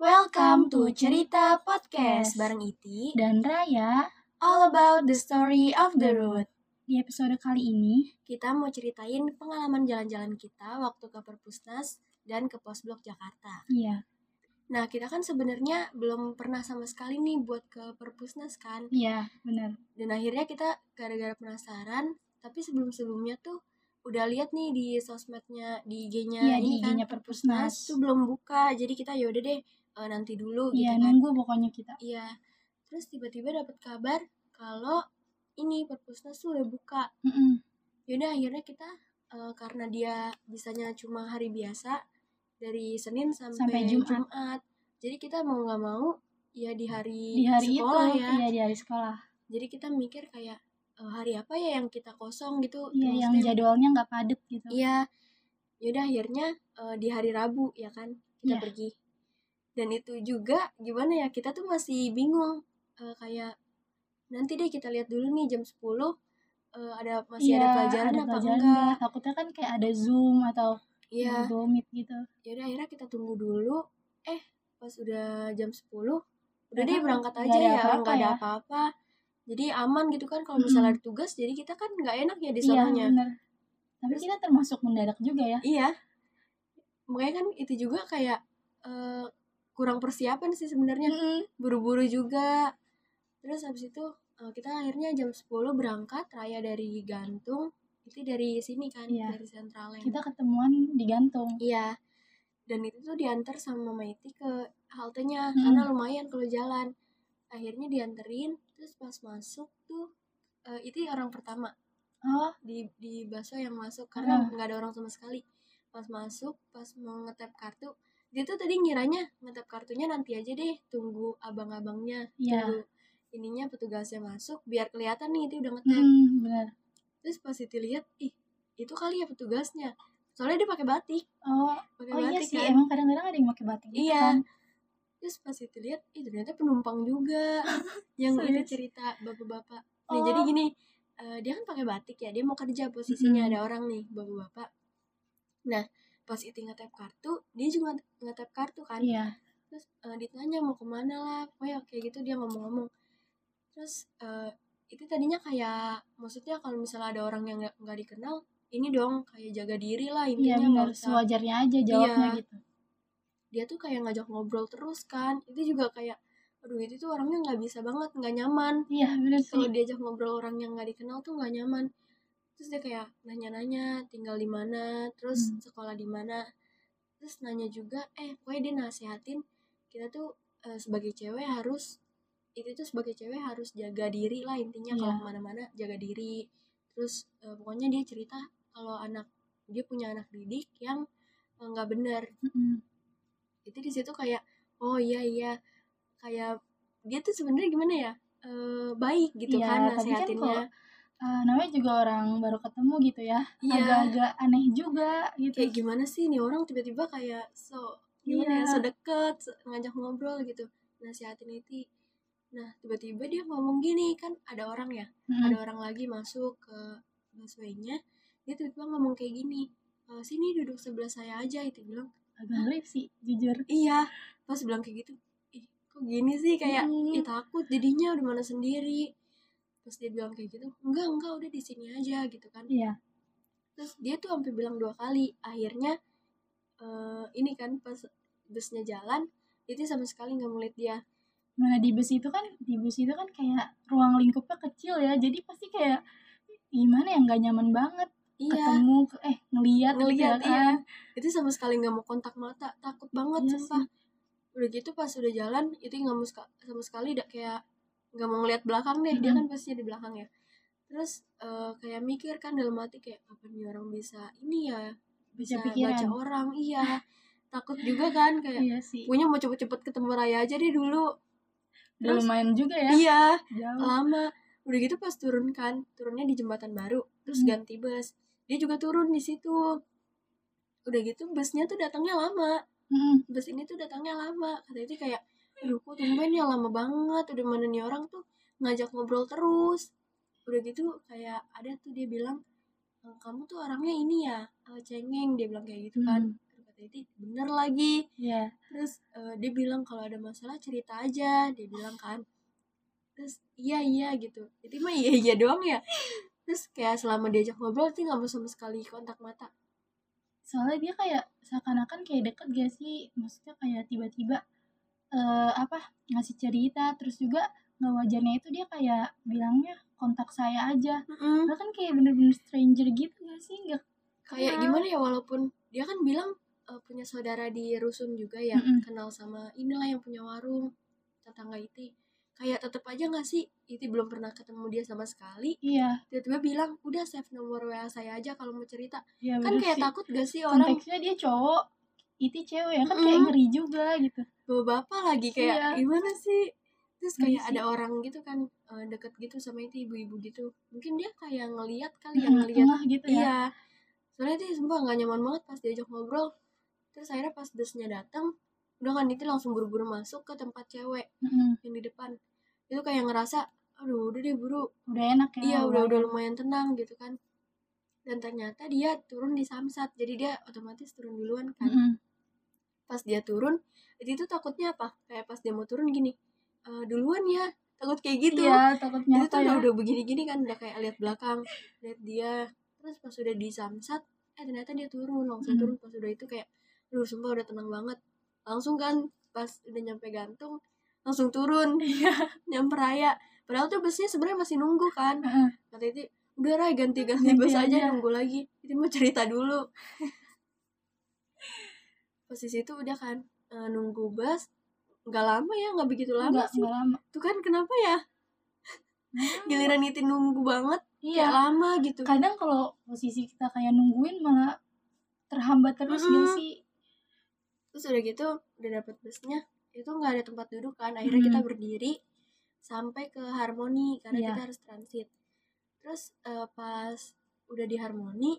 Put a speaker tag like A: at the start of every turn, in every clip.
A: Welcome to Cerita Podcast bareng Iti
B: dan Raya.
A: All about the story of the road.
B: Di episode kali ini,
A: Kita mau ceritain pengalaman jalan-jalan kita waktu ke Perpusnas dan ke Pos Blok Jakarta.
B: iya,
A: Nah, kita kan sebenarnya belum pernah sama sekali nih buat ke Perpusnas kan.
B: iya, benar.
A: Dan akhirnya kita gara-gara penasaran, tapi sebelum-sebelumnya tuh udah lihat nih di sosmednya di IG-nya
B: Iya,
A: ini
B: di
A: kan.
B: IG-nya
A: Perpusnas
B: Perpusnas.
A: tuh belum buka, jadi kita yaudah deh eh, nanti dulu gitu
B: Iya,
A: kan.
B: nunggu pokoknya kita.
A: Iya. Terus tiba-tiba dapat kabar kalau ini perpusnas tuh udah buka.
B: Mm-mm.
A: Yaudah akhirnya kita eh, karena dia bisanya cuma hari biasa dari Senin sampai,
B: Sampai Jumat.
A: Jadi kita mau nggak mau ya di hari,
B: Di hari
A: sekolah
B: itu,
A: ya.
B: iya di hari sekolah.
A: Jadi kita mikir kayak eh, hari apa ya yang kita kosong gitu.
B: Iya, yang
A: Maksudnya-
B: jadwalnya nggak padat gitu.
A: Iya. Yaudah akhirnya eh, di hari Rabu ya kan kita
B: Iya.
A: pergi. Dan itu juga gimana ya kita tuh masih bingung Eh, kayak nanti deh kita lihat dulu nih jam 10 eh, ada masih ada
B: Iya,
A: pelajaran
B: ada
A: apa
B: pelajaran
A: enggak.
B: nggak. Takutnya kan kayak ada Zoom atau
A: Iya.
B: Google Meet gitu.
A: Yaudah akhirnya kita tunggu dulu. Eh pas udah jam 10 udah
B: Nggak
A: deh
B: ada-
A: berangkat
B: nggak
A: aja
B: ada
A: ya
B: apa-apa
A: nggak ada
B: ya.
A: apa-apa. Jadi aman gitu kan kalau
B: Mm-mm.
A: misalnya ada tugas jadi kita kan nggak enak ya di
B: Iya,
A: sononya.
B: benar. Tapi kita termasuk mendadak juga ya.
A: Iya. Makanya kan itu juga kayak eh, kurang persiapan sih sebenarnya.
B: Mm-mm.
A: Buru-buru juga. Terus habis itu eh, kita akhirnya jam 10 berangkat Raya dari Gantung. Itu dari sini kan,
B: Iya.
A: dari Central Land.
B: Kita ketemuan di gantung.
A: Iya. Dan itu tuh diantar sama Maiti ke haltenya
B: Mm-mm.
A: karena lumayan kalau jalan. Akhirnya dianterin, terus pas masuk tuh eh, itu orang pertama
B: Oh,
A: di di bakso yang masuk
B: Nah.
A: karena nggak ada orang sama sekali pas masuk pas mau ngetap kartu dia tuh tadi ngiranya ngetap kartunya nanti aja deh tunggu abang-abangnya
B: Iya.
A: tunggu ininya petugasnya masuk biar kelihatan nih itu udah ngetap
B: mm, benar.
A: terus pas itu lihat ih itu kali ya petugasnya soalnya dia pakai batik
B: Oh,
A: pakai
B: oh iya
A: batik
B: sih.
A: kan.
B: Emang kadang-kadang ada yang pakai batik gitu
A: Iya.
B: kan.
A: terus pas itu lihat ih ternyata penumpang juga yang itu
B: Serius?
A: cerita bapak-bapak nih
B: Oh.
A: jadi gini eh, dia kan pakai batik ya dia mau kerja posisinya
B: Mm-mm.
A: ada orang nih bapak-bapak nah pas itu ngetap kartu dia juga ngetap kartu kan
B: Iya.
A: terus eh, ditanya mau kemana lah pokoknya kayak gitu dia ngomong-ngomong terus eh, itu tadinya kayak maksudnya kalau misalnya ada orang yang nggak nggak dikenal ini dong kayak jaga diri lah
B: Iya
A: intinya nggak
B: benar
A: usah
B: sewajarnya aja jawabnya
A: Iya.
B: gitu.
A: dia tuh kayak ngajak ngobrol terus kan itu juga kayak aduh itu tuh orangnya nggak bisa banget nggak nyaman
B: Iya benar sih.
A: kalau diajak ngobrol orang yang nggak dikenal tuh nggak nyaman terus dia kayak nanya-nanya tinggal di mana terus
B: Hmm.
A: sekolah di mana terus nanya juga eh pokoknya dia nasehatin kita tuh eh, sebagai cewek harus itu tuh sebagai cewek harus jaga diri lah intinya kalau
B: Iya.
A: kemana-mana jaga diri terus eh, pokoknya dia cerita kalau anak dia punya anak didik yang eh, nggak benar
B: Mm-mm.
A: itu di situ kayak oh iya iya kayak dia tuh sebenarnya gimana ya eh, baik gitu
B: Iya,
A: kan
B: tapi kan
A: nasehatinnya
B: kalau- Eh, namanya juga orang baru ketemu gitu ya.
A: Iya.
B: Agak-agak aneh juga gitu.
A: kayak gimana sih nih orang tiba-tiba kayak so gimana ya
B: Iya.
A: so deket so- ngajak ngobrol gitu nasihatin itu nah tiba-tiba dia ngomong gini kan ada orang ya
B: Mm-mm.
A: ada orang lagi masuk ke busway-nya dia tiba-tiba ngomong kayak gini "Eh, sini duduk sebelah saya aja itu bilang
B: Agak ngeri sih jujur.
A: iya pas bilang kayak gitu ih kok gini sih kayak
B: Mm.
A: ih takut jadinya udah mana sendiri terus dia bilang kayak gitu enggak enggak udah di sini aja gitu kan
B: Iya.
A: terus dia tuh sampai bilang dua kali akhirnya eh, ini kan pas busnya jalan itu sama sekali nggak melihat dia
B: Mana di bus itu kan di bus itu kan kayak ruang lingkupnya kecil ya. Jadi pasti kayak gimana ya nggak nyaman banget
A: iya
B: ketemu ke- eh ngelihat gitu ya
A: Ngeliat,
B: kan.
A: iya. itu sama sekali nggak mau kontak mata takut banget
B: Iya
A: sumpah udah gitu pas udah jalan itu nggak mau seka- sama sekali udah kayak nggak mau ngeliat belakang deh dia kan
B: Mm-mm.
A: pasti di belakang ya terus eh, kayak mikir kan dalam hati kayak kapan nih orang bisa ini ya
B: Baca
A: bisa
B: pikiran.
A: baca orang iya takut juga kan kayak
B: Iya sih.
A: punya mau cepet-cepet ketemu Raya aja deh dulu
B: Udah
A: terus-
B: lumayan juga ya.
A: iya
B: Jauh.
A: lama udah gitu pas turun kan turunnya di jembatan baru terus
B: Hmm.
A: ganti bus dia juga turun di situ udah gitu busnya tuh datangnya lama
B: Mm-mm.
A: bus ini tuh datangnya lama kata itu kayak aduh kok tumben ya lama banget udah mana nih orang tuh ngajak ngobrol terus udah gitu kayak ada tuh dia bilang "Eh, kamu tuh orangnya ini ya eh, cengeng dia bilang kayak gitu kan
B: Hmm.
A: Kata kata Iti bener lagi
B: Iya.
A: terus eh, dia bilang kalau ada masalah cerita aja dia bilang kan terus iya iya gitu jadi mah iya iya doang ya terus kayak selama diajak ngobrol Iti nggak mau sama sekali kontak mata
B: Soalnya dia kayak seakan-akan kayak deket gak sih? Maksudnya kayak tiba-tiba eh apa ngasih cerita terus juga nggak wajarnya itu dia kayak bilangnya kontak saya aja. Padahal kan kayak bener-bener stranger gitu gak sih? Nggak
A: kayak
B: Kenal.
A: gimana ya walaupun dia kan bilang eh, punya saudara di rusun juga yang
B: Mm-mm.
A: kenal sama inilah yang punya warung tetangga Iti kayak tetep aja nggak sih Iti belum pernah ketemu dia sama sekali
B: iya.
A: tiba-tiba bilang udah save nomor WA saya aja kalau mau cerita
B: Iya
A: kan
B: bener
A: kayak
B: sih.
A: takut gak sih orang
B: konteksnya dia cowok itu cewek ya kan kayak
A: Mm-mm.
B: ngeri juga gitu
A: bapak lagi kayak
B: Iya.
A: gimana sih terus
B: Ngeri
A: kayak
B: sih.
A: ada orang gitu kan eh, deket gitu sama Iti ibu-ibu gitu mungkin dia kayak ngeliat kali ya
B: yang
A: ngeliat
B: tengah gitu ya
A: Iya. Soalnya dia sumpah gak nyaman banget pas diajak ngobrol. Terus akhirnya pas desnya datang, udah kan Diti langsung buru-buru masuk ke tempat cewek
B: Mm-mm.
A: yang di depan. Itu kayak ngerasa, aduh udah deh buru.
B: udah enak ya
A: Iya udah udah
B: awalnya.
A: lumayan tenang gitu kan. Dan ternyata dia turun di Samsat, jadi dia otomatis turun duluan kan.
B: Mm-mm.
A: Pas dia turun, Diti tuh takutnya apa? Kayak pas dia mau turun gini, "Eh, duluan ya, takut kayak gitu.
B: iya takut
A: Jadi tuh
B: nyata ya
A: udah, udah begini-gini kan udah kayak lihat belakang lihat dia terus pas udah di samsat eh ternyata dia turun langsung
B: Hmm.
A: turun pas udah itu kayak aduh sumpah udah tenang banget langsung kan pas udah nyampe gantung langsung turun
B: Iya.
A: nyamper raya padahal tuh busnya sebenarnya masih nunggu kan
B: Heeh.
A: kata itu udah Ray ganti-ganti
B: Ganti
A: bus aja
B: aja."
A: nunggu lagi jadi mau cerita dulu pas di situ udah kan eh, nunggu bus nggak lama ya nggak begitu lama
B: nggak
A: sih
B: nggak lama
A: tuh kan kenapa ya giliran itu nunggu banget
B: iya
A: kayak lama gitu
B: kadang kalau posisi kita kayak nungguin malah terhambat terus gak
A: Mm-mm.
B: sih
A: terus udah gitu udah dapet busnya itu nggak ada tempat duduk kan akhirnya
B: Hmm.
A: kita berdiri sampai ke harmoni karena
B: Iya.
A: kita harus transit terus eh, pas udah di harmoni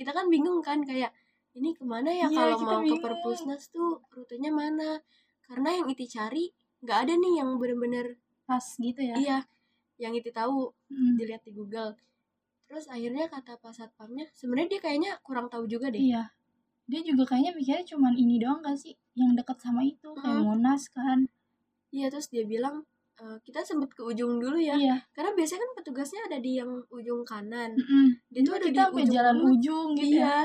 A: kita kan bingung kan kayak ini kemana ya
B: Iya,
A: kalau
B: kita
A: mau ke
B: bingung.
A: perpusnas tuh rutenya mana karena yang iti cari nggak ada nih yang bener-bener
B: pas gitu ya
A: iya yang iti tahu
B: Mm.
A: dilihat di Google terus akhirnya kata pas satpamnya sebenarnya dia kayaknya kurang tahu juga deh
B: iya dia juga kayaknya mikirnya cuman ini doang gak sih yang dekat sama itu kayak
A: Mm.
B: monas kan
A: iya terus dia bilang "Eh, kita sempet ke ujung dulu ya
B: iya
A: karena biasanya kan petugasnya ada di yang ujung kanan
B: Mm-mm.
A: dia tuh ada
B: Hmm,
A: di
B: kita sampai
A: ujung
B: jalan
A: banget.
B: ujung gitu ya
A: iya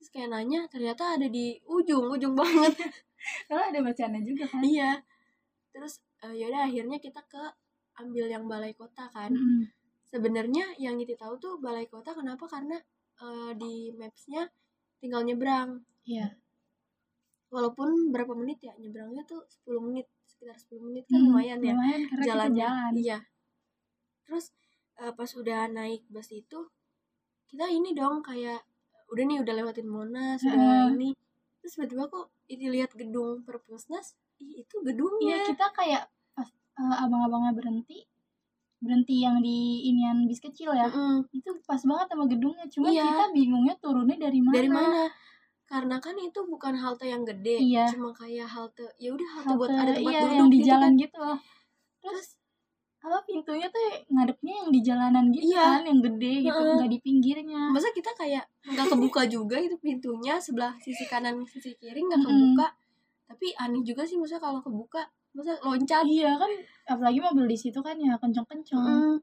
A: terus kayak nanya ternyata ada di ujung ujung banget
B: Karena ada bacaan juga kan.
A: iya terus eh, yaudah akhirnya kita ke ambil yang balai kota kan
B: Mm-mm.
A: sebenarnya yang Iti tahu tuh balai kota kenapa karena eh, di mapsnya tinggal nyebrang
B: Iya.
A: walaupun berapa menit ya nyebrangnya tuh 10 menit sekitar 10 menit
B: Hmm,
A: kan lumayan ya
B: Lumayan karena
A: jalannya
B: kita jalan.
A: iya terus eh, pas udah naik bus itu kita ini dong kayak udah nih udah lewatin Monas udah
B: Heeh.
A: ini terus tiba-tiba kok ini lihat gedung perpusnas ih itu
B: Iya,
A: gedungnya
B: kita kayak pas eh, abang-abangnya berhenti berhenti yang di inian bis kecil ya.
A: Mm-mm.
B: Itu pas banget sama gedungnya. Cuma
A: Iya.
B: kita bingungnya turunnya dari mana. ya?
A: dari mana karena kan itu bukan halte yang gede
B: Iya.
A: cuma kayak halte ya udah halte,
B: Halte,
A: buat ada tempat
B: iya,
A: duduk
B: yang di
A: gitu
B: jalan
A: kan.
B: gitu loh.
A: terus
B: Apa pintunya tuh ngadepnya yang di jalanan gitu
A: Iya.
B: kan, yang gede gitu,
A: Heeh.
B: nggak di pinggirnya.
A: masa kita kayak nggak kebuka juga itu pintunya sebelah sisi kanan sisi kiri nggak
B: Mm-mm.
A: kebuka tapi aneh juga sih masa kalau kebuka masa loncat
B: Iya kan, apalagi mobil di situ kan ya kenceng-kenceng.
A: Mm.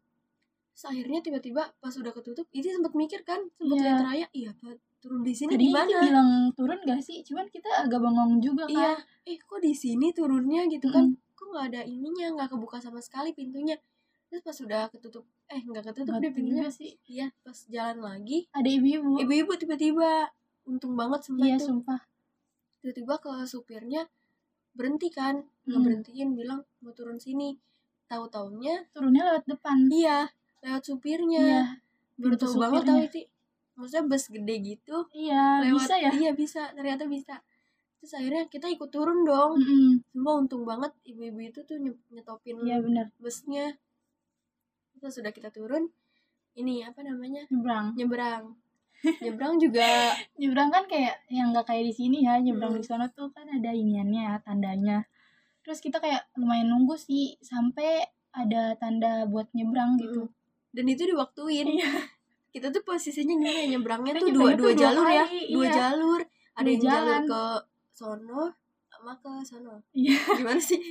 A: Terus akhirnya tiba-tiba pas udah ketutup, itu sempat mikir kan, sempat
B: Iya.
A: lihat raya, iya apa, turun di sini di
B: Tadi kita
A: mana?
B: bilang turun gak sih? Cuman kita agak bengong juga
A: Iya,
B: kan.
A: eh kok di sini turunnya gitu kan? Kok nggak ada ininya, nggak kebuka sama sekali pintunya. Terus pas udah ketutup, eh nggak ketutup
B: Nggak
A: deh
B: tahu
A: pintunya.
B: juga sih.
A: Iya, pas jalan lagi,
B: Ada ibu-ibu.
A: ibu-ibu tiba-tiba untung banget sempat
B: Iya,
A: itu
B: sumpah.
A: tiba-tiba ke supirnya berhenti kan, nggak
B: Hmm.
A: berhentiin bilang mau turun sini. Tahu-taunya,
B: Turunnya lewat depan.
A: iya lewat supirnya.
B: Iya.
A: baru
B: Pintu
A: tahu banget tau
B: supirnya.
A: itu maksudnya bus gede gitu
B: Iya,
A: lewat
B: bisa ya?
A: iya bisa ternyata bisa terus akhirnya kita ikut turun dong
B: Mm-mm.
A: semua untung banget ibu-ibu itu tuh nye- nyetopin
B: Iya, benar.
A: busnya terus sudah kita turun ini apa namanya
B: Nyebrang.
A: nyebrang nyebrang juga
B: Nyebrang kan kayak yang nggak kayak di sini ya. Nyebrang
A: Hmm.
B: di sana tuh kan ada iniannya, tandanya. Terus kita kayak lumayan nunggu sih sampai ada tanda buat nyebrang gitu.
A: mm, dan itu diwaktuin
B: Iya.
A: kita tuh posisinya gimana ya, nyebrangnya
B: Kita
A: tuh dua dua
B: nyebrangnya tuh dua
A: jalur ya
B: kali,
A: dua
B: iya.
A: jalur ada yang
B: jalan.
A: jalur ke sono sama ke sono
B: Iya.
A: gimana sih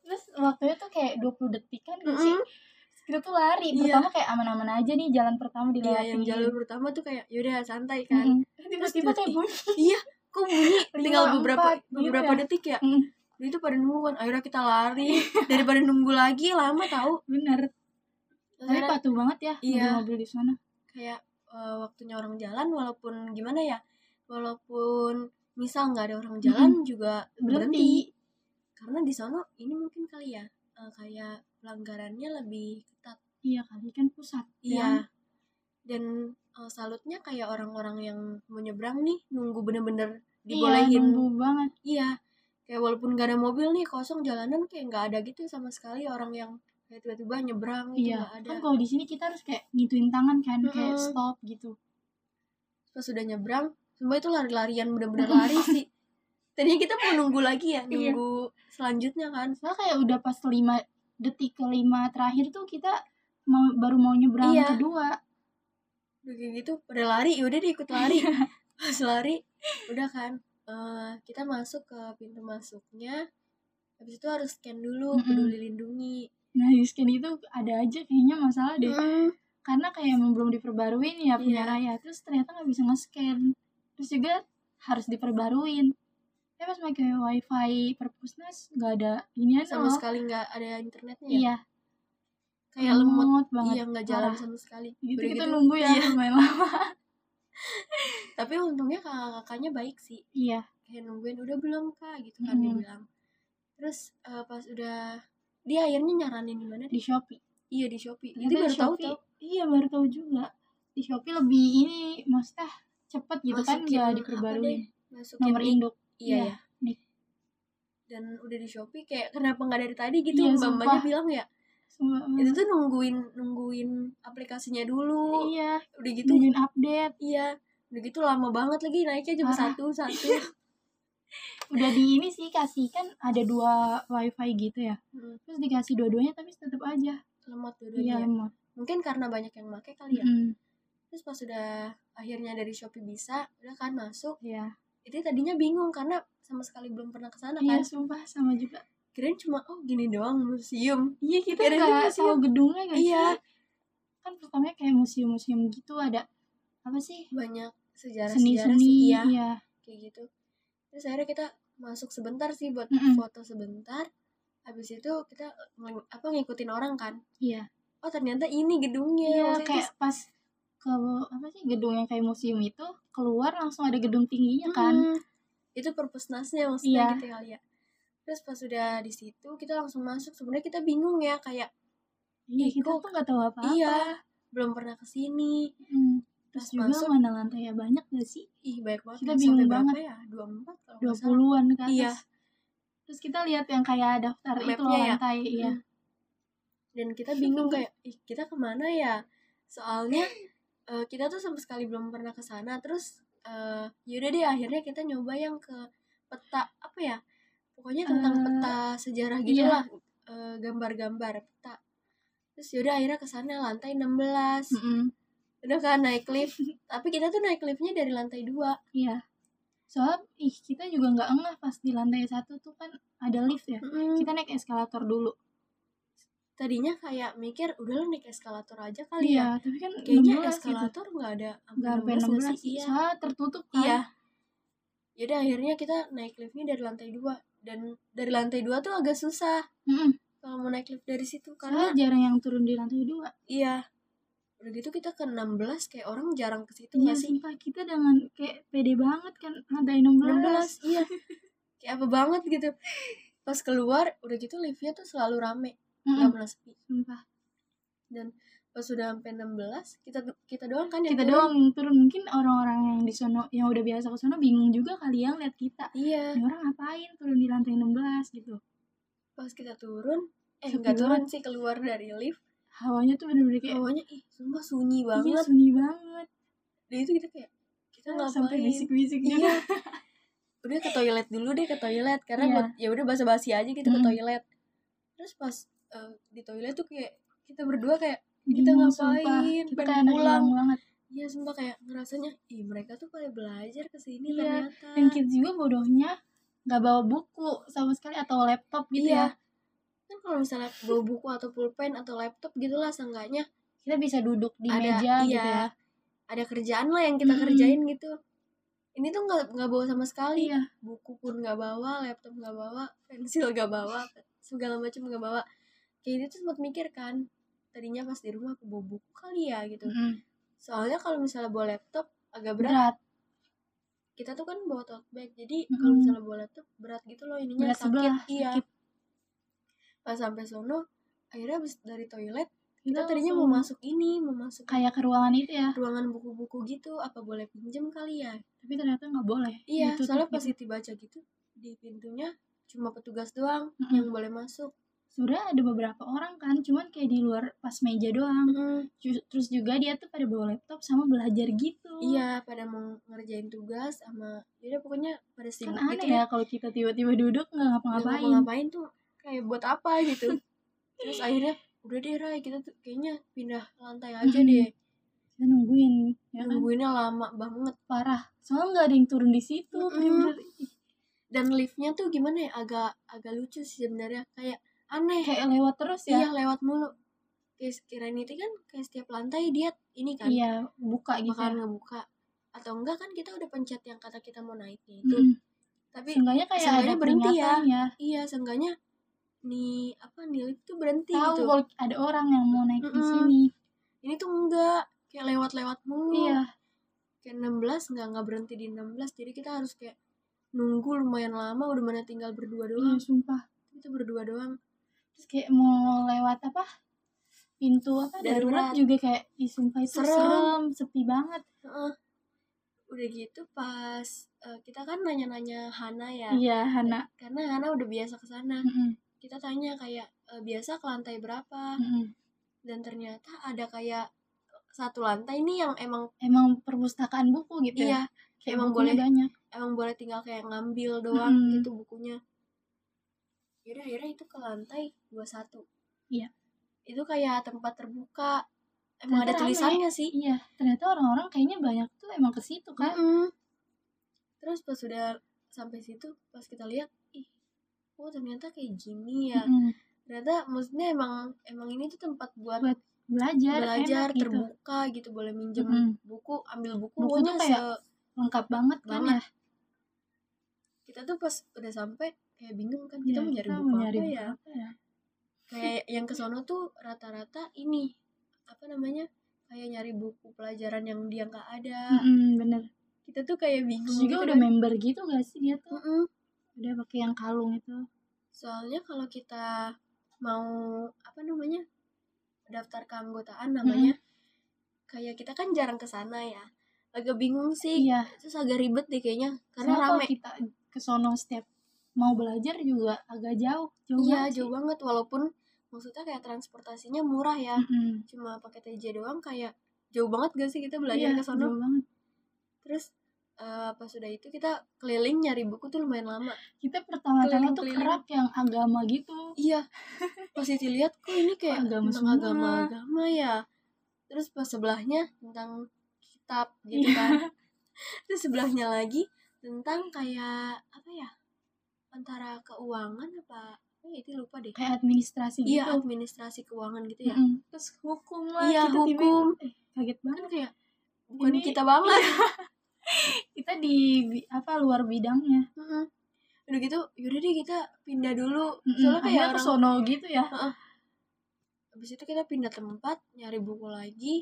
B: terus waktunya tuh kayak 20 detik kan gak sih Terus kita tuh lari
A: Hmm. Iya.
B: pertama kayak aman-aman aja nih jalan pertama di
A: Iya, yang jalur pertama tuh kayak yaudah santai kan.
B: tiba-tiba kayak bunyi
A: Kok bunyi
B: Lima,
A: tinggal beberapa
B: empat, gitu
A: beberapa
B: ya. Iya.
A: detik ya.
B: Mm,
A: Dia itu pada nunggu kan, akhirnya kita lari daripada nunggu lagi lama tahu.
B: bener tapi
A: Akhirnya
B: patuh banget ya
A: Iya.
B: mobil-mobil di sana
A: kayak eh, waktunya orang jalan walaupun gimana ya, walaupun misal nggak ada orang jalan juga berhenti.
B: berhenti
A: Karena di sana ini mungkin kali ya eh, kayak pelanggarannya lebih ketat.
B: iya kali kan pusat ya.
A: Iya. Dan eh, salutnya kayak orang-orang yang mau nyebrang nih nunggu bener-bener
B: iya,
A: dibolehin
B: nunggu banget
A: Iya, kayak walaupun gak ada mobil nih kosong jalanan kayak nggak ada gitu sama sekali orang yang kayak tiba-tiba nyebrang gitu
B: iya
A: nggak ada.
B: kan kalau di sini kita harus kayak ngituin tangan kan kayak
A: Mm-mm.
B: stop gitu
A: Pas sudah nyebrang, semua itu lari-larian bener-bener lari sih. Tadinya kita mau nunggu lagi ya,
B: Iya.
A: nunggu selanjutnya kan.
B: Soalnya kayak udah pas lima detik kelima terakhir tuh kita mau baru mau nyebrang
A: Iya.
B: kedua
A: Udah kayak gitu, pada lari, yaudah deh ikut lari.
B: Iya.
A: Pas lari, udah kan. eh, kita masuk ke pintu masuknya, habis itu harus scan dulu
B: Mm-mm.
A: peduli lindungi.
B: nah di scan itu ada aja kayaknya masalah deh
A: Mm.
B: karena kayak emang belum diperbaruin ya punya
A: Iya.
B: raya terus ternyata nggak bisa nge-scan terus juga harus diperbaruin saya pas pakai wifi perpusnas nggak ada ini
A: Sama
B: loh
A: sekali nggak ada internetnya ya.
B: Oh. iya
A: Kayak lemot
B: banget
A: Iya nggak jalan
B: parah.
A: sama sekali.
B: gitu
A: Udah
B: kita
A: gitu,
B: nunggu ya
A: iya.
B: lumayan lama
A: Tapi untungnya kakak-kakaknya baik sih.
B: iya
A: Kayak nungguin udah belum kak gitu kan dia
B: Mm.
A: bilang. Terus eh, pas udah dia akhirnya nyaranin di mana? deh?
B: di shopee
A: Iya di Shopee.
B: Ternyata
A: Itu baru
B: di
A: tahu
B: Shopee-
A: tuh.
B: Iya baru tahu juga. Di Shopee lebih ini maksudnya cepet gitu kan
A: Masukin
B: nggak
A: apa
B: diperbarui
A: Masukin
B: nomor
A: link.
B: induk.
A: Iya
B: Iya,
A: ya.
B: nik.
A: Dan udah di Shopee kayak kenapa nggak dari tadi gitu
B: Iya,
A: mbak-mbaknya
B: sumpah.
A: bilang ya.
B: Semua-
A: Itu tuh nungguin nungguin aplikasinya dulu.
B: iya,
A: Udah gitu
B: nungguin update.
A: iya. Udah gitu lama banget lagi naiknya cuma
B: Parah. Iya.
A: satu satu.
B: Udah di ini sih kasih kan ada dua wifi gitu ya.
A: Hmm,
B: Terus dikasih dua-duanya tapi tetap aja.
A: lemot
B: Iya,
A: dua-duanya.
B: lemot.
A: Mungkin karena banyak yang make kali ya.
B: Mm-mm.
A: terus pas sudah akhirnya dari Shopee bisa udah kan masuk
B: Iya.
A: itu tadinya bingung karena sama sekali belum pernah kesana kan
B: Iya, sumpah sama juga.
A: kirain cuma oh gini doang museum
B: Iya, kita
A: Kirain tuh
B: nggak
A: museum.
B: tahu gedungnya nggak
A: Iya.
B: sih? Kan pertamanya kayak museum-museum gitu ada apa sih?
A: banyak sejarah sejarah
B: Seni-seni,
A: sih
B: iya.
A: iya kayak gitu terus akhirnya kita masuk sebentar sih buat
B: Mm-mm.
A: foto sebentar habis itu kita ng- apa ngikutin orang kan
B: Iya.
A: oh ternyata ini gedungnya
B: Iya,
A: Maksudnya
B: kayak pas ke apa sih gedung yang kayak museum itu keluar langsung ada gedung tingginya
A: terus-
B: kan.
A: Mm, itu perpusnasnya maksudnya
B: Iya.
A: gitu kali ya terus pas sudah di situ kita langsung masuk sebenarnya kita bingung ya kayak
B: Iya,
A: Ih,
B: kita
A: kok-
B: tuh nggak tahu apa-apa.
A: iya belum pernah kesini
B: Mm.
A: Terus
B: Terus juga
A: masuk.
B: mana lantai ya banyak gak sih?
A: Ih banyak banget
B: Kita
A: kan,
B: bingung
A: sampai
B: banget.
A: berapa ya? 24 kalau nggak salah.
B: 20-an ke atas.
A: Iya.
B: Terus kita lihat yang kayak daftar itu loh
A: Mapnya ya.
B: lantai iya.
A: Dan kita bingung kayak ih kita kemana ya? Soalnya eh, kita tuh sama sekali belum pernah ke sana. Terus eh, yaudah deh akhirnya kita nyoba yang ke peta apa ya? Pokoknya tentang
B: Eh,
A: peta sejarah
B: iya.
A: gitu lah. Eh, gambar-gambar peta. Terus yaudah akhirnya ke sana lantai 16.
B: Mm-mm.
A: Udah kan naik lift. Tapi kita tuh naik liftnya dari lantai 2.
B: Iya. Soalnya ih kita juga nggak ngeh pas di lantai satu tuh kan ada lift ya. Kita naik eskalator dulu.
A: Tadinya kayak mikir udah lah naik eskalator aja kali ya.
B: Iya, tapi kan
A: kayaknya
B: 16 gitu.
A: eskalator nggak ada
B: Nggak sampai 16 sih.
A: iya
B: Soalnya tertutup kan.
A: iya jadi akhirnya kita naik liftnya dari lantai dua dan dari lantai dua tuh agak susah
B: Mm-mm.
A: kalau mau naik lift dari situ
B: Soalnya
A: karena
B: jarang yang turun di lantai dua.
A: iya udah gitu kita ke 16 kayak orang jarang ke situ
B: Iya
A: nggak sih
B: sumpah kita dengan kayak pede banget kan lantai
A: 16
B: 16.
A: iya kayak apa banget gitu pas keluar udah gitu liftnya tuh selalu rame nggak
B: Mm-mm,
A: pernah sepi
B: sumpah.
A: pas sudah sampai 16 kita kita doang kan yang
B: Kita
A: turun.
B: doang yang turun mungkin orang-orang yang di sono yang udah biasa ke sono bingung juga kali yang lihat kita.
A: iya
B: Ini orang ngapain turun di lantai 16 gitu.
A: pas kita turun eh nggak
B: Sepi banget.
A: turun sih keluar dari lift
B: Hawanya tuh bener-bener kayak
A: awalnya ih sumpah sunyi banget
B: iya, sunyi banget.
A: Dan itu kita kayak kita nggak
B: sampai bisik-bisik
A: Iya.
B: juga.
A: Udah ke toilet dulu deh ke toilet karena
B: Iya. Hmm.
A: buat ya udah basa-basi aja gitu ke
B: Mm-mm.
A: toilet. Terus pas eh, di toilet tuh kayak kita berdua kayak kita
B: Bingung,
A: ngapain?
B: sumpah. Kita
A: Pengen
B: kayak anak
A: pulang.
B: hilang banget.
A: Iya sumpah kayak ngerasanya ih mereka tuh pada belajar ke sini
B: Iya,
A: ternyata.
B: dan kids juga bodohnya nggak bawa buku sama sekali atau laptop gitu
A: Iya.
B: ya
A: Kan kalau misalnya bawa buku atau pulpen atau laptop gitu lah seenggaknya
B: kita bisa duduk di
A: ada
B: meja
A: iya,
B: gitu ya
A: ada kerjaan lah yang kita
B: Mm-mm.
A: kerjain gitu. Ini tuh nggak nggak bawa sama sekali.
B: iya
A: Buku pun nggak bawa, laptop nggak bawa, pensil nggak bawa, segala macam nggak bawa. Kayak gitu tuh sempat mikir kan. Tadinya pas di rumah aku bawa buku kali ya gitu.
B: Mm-mm.
A: Soalnya kalau misalnya bawa laptop agak berat
B: berat
A: kita tuh kan bawa tote bag jadi
B: Mm-mm.
A: kalau misalnya bola tuh berat gitu loh ininya
B: berat sebelah
A: iya
B: sakit.
A: pas sampai sono akhirnya habis dari toilet kita
B: Kita
A: tadinya mau
B: langsung
A: masuk ini mau masuk
B: kayak ke ruangan itu ya
A: ruangan buku-buku gitu apa boleh pinjem kali ya
B: tapi ternyata nggak boleh
A: iya
B: Ditutup
A: soalnya
B: gitu.
A: pas Siti baca gitu di pintunya cuma petugas doang
B: Mm-mm.
A: yang boleh masuk
B: sebenarnya ada beberapa orang kan cuman kayak di luar pas meja doang Ju- terus juga dia tuh pada bawa laptop sama belajar gitu
A: iya pada mau ngerjain tugas sama yaudah pokoknya pada
B: kan
A: sibuk
B: aneh
A: gitu
B: ya
A: deh
B: kalau kita tiba-tiba duduk nggak
A: Nggak
B: ngapa-ngapain
A: ngapa-ngapain tuh kayak buat apa gitu terus akhirnya udah deh Rai kita tuh kayaknya pindah lantai aja
B: Mm-mm.
A: deh
B: kita nungguin ya kan
A: nungguinnya lama banget
B: parah soalnya nggak ada yang turun di situ
A: Mm-mm.
B: bener-bener ih,
A: dan liftnya tuh gimana ya agak agak lucu sih sebenarnya kayak aneh
B: kayak lewat terus
A: iya
B: ya
A: lewat mulu kayak kirain itu kan kayak setiap lantai dia ini kan
B: iya buka gitu
A: bakalan
B: ya.
A: ngebuka atau enggak kan kita udah pencet yang kata kita mau naiknya itu
B: Mm-mm.
A: tapi
B: seenggaknya kayak
A: seenggaknya
B: ada
A: berhenti ya.
B: peringatan ya,
A: iya seenggaknya nih apa nih lift tuh berhenti
B: tahu
A: gitu
B: kalau ada orang yang mau naik di
A: Mm-mm.
B: sini
A: ini tuh enggak kayak lewat-lewat mulu
B: iya
A: kayak 16 nggak nggak berhenti di 16 jadi kita harus kayak nunggu lumayan lama udah mana tinggal berdua
B: iya
A: doang
B: sumpah
A: kita berdua doang
B: terus kayak mau lewat apa pintu apa
A: Darurat.
B: darurat, juga kayak ih sumpah itu
A: Serem.
B: serem, sepi banget
A: Heeh. udah gitu pas eh, kita kan nanya-nanya Hana ya
B: iya Hana
A: karena Hana udah biasa ke sana
B: Mm-mm,
A: kita tanya kayak eh, biasa ke lantai berapa
B: mm-mm.
A: dan ternyata ada kayak satu lantai nih yang emang
B: emang perpustakaan buku gitu
A: iya
B: ya kayak
A: emang
B: bukunya
A: boleh.
B: banyak
A: emang boleh tinggal kayak ngambil doang
B: Mm-mm.
A: gitu bukunya yaudah akhirnya itu ke lantai 21
B: Iya.
A: itu kayak tempat terbuka emang ada
B: Ternyata rame.
A: tulisannya sih
B: iya ternyata orang-orang kayaknya banyak tuh emang ke situ kan
A: Mm-mm. terus pas sudah sampai situ pas kita lihat ih oh ternyata kayak gini ya
B: Mm-mm.
A: ternyata maksudnya emang emang ini tuh tempat buat
B: Buat belajar
A: belajar
B: enak gitu
A: terbuka gitu boleh minjem
B: Mm-mm.
A: buku ambil buku,
B: Buku
A: pokoknya
B: tuh kayak-
A: se-
B: lengkap banget kan
A: Banget.
B: ya
A: kita tuh pas udah sampai kayak bingung kan kita
B: Iya,
A: mau nyari
B: kita
A: buku
B: mau nyari
A: apa
B: buku
A: ya
B: apa ya?
A: kayak yang ke sono tuh rata-rata ini apa namanya kayak nyari buku pelajaran yang dia nggak ada
B: Mm-mm, bener
A: kita tuh kayak bingung
B: terus juga
A: gitu
B: udah
A: kan.
B: member gitu gak sih dia tuh
A: Mm-mm.
B: udah pakai yang kalung itu
A: soalnya kalau kita mau apa namanya daftar keanggotaan namanya kayak kita kan jarang ke sana ya agak bingung sih
B: iya
A: terus agak ribet deh kayaknya karena
B: karena kalau
A: rame
B: kita ke sono setiap mau belajar juga agak jauh jauh
A: iya
B: banget sih.
A: jauh banget walaupun maksudnya kayak transportasinya murah ya
B: Mm-mm.
A: cuma pakai TJ doang kayak jauh banget gak sih kita belajar
B: Iya,
A: ke sono
B: jauh banget
A: terus eh, pas sudah itu kita keliling nyari buku tuh lumayan lama
B: kita pertama-tama tuh
A: Keliling-keliling.
B: kerap yang agama gitu
A: iya pas itu lihat kok ini kayak
B: Agama
A: tentang
B: semua.
A: agama-agama ya terus pas sebelahnya tentang kitab gitu
B: Iya.
A: kan terus sebelahnya lagi tentang kayak apa ya antara keuangan apa apa ya itu lupa deh
B: kayak administrasi
A: iya
B: gitu
A: administrasi keuangan gitu ya
B: Mm-mm. terus hukum lah
A: Iya,
B: kita tiba-tiba-
A: hukum.
B: eh, kaget
A: kan
B: banget
A: kayak bukan
B: Ini-
A: kita banget
B: kita di bi- apa luar bidangnya
A: Mm-mm. udah gitu yaudah deh kita pindah dulu
B: Mm-mm.
A: soalnya kayak
B: Akhirnya ke
A: orang
B: sono gitu ya
A: habis itu kita pindah tempat nyari buku lagi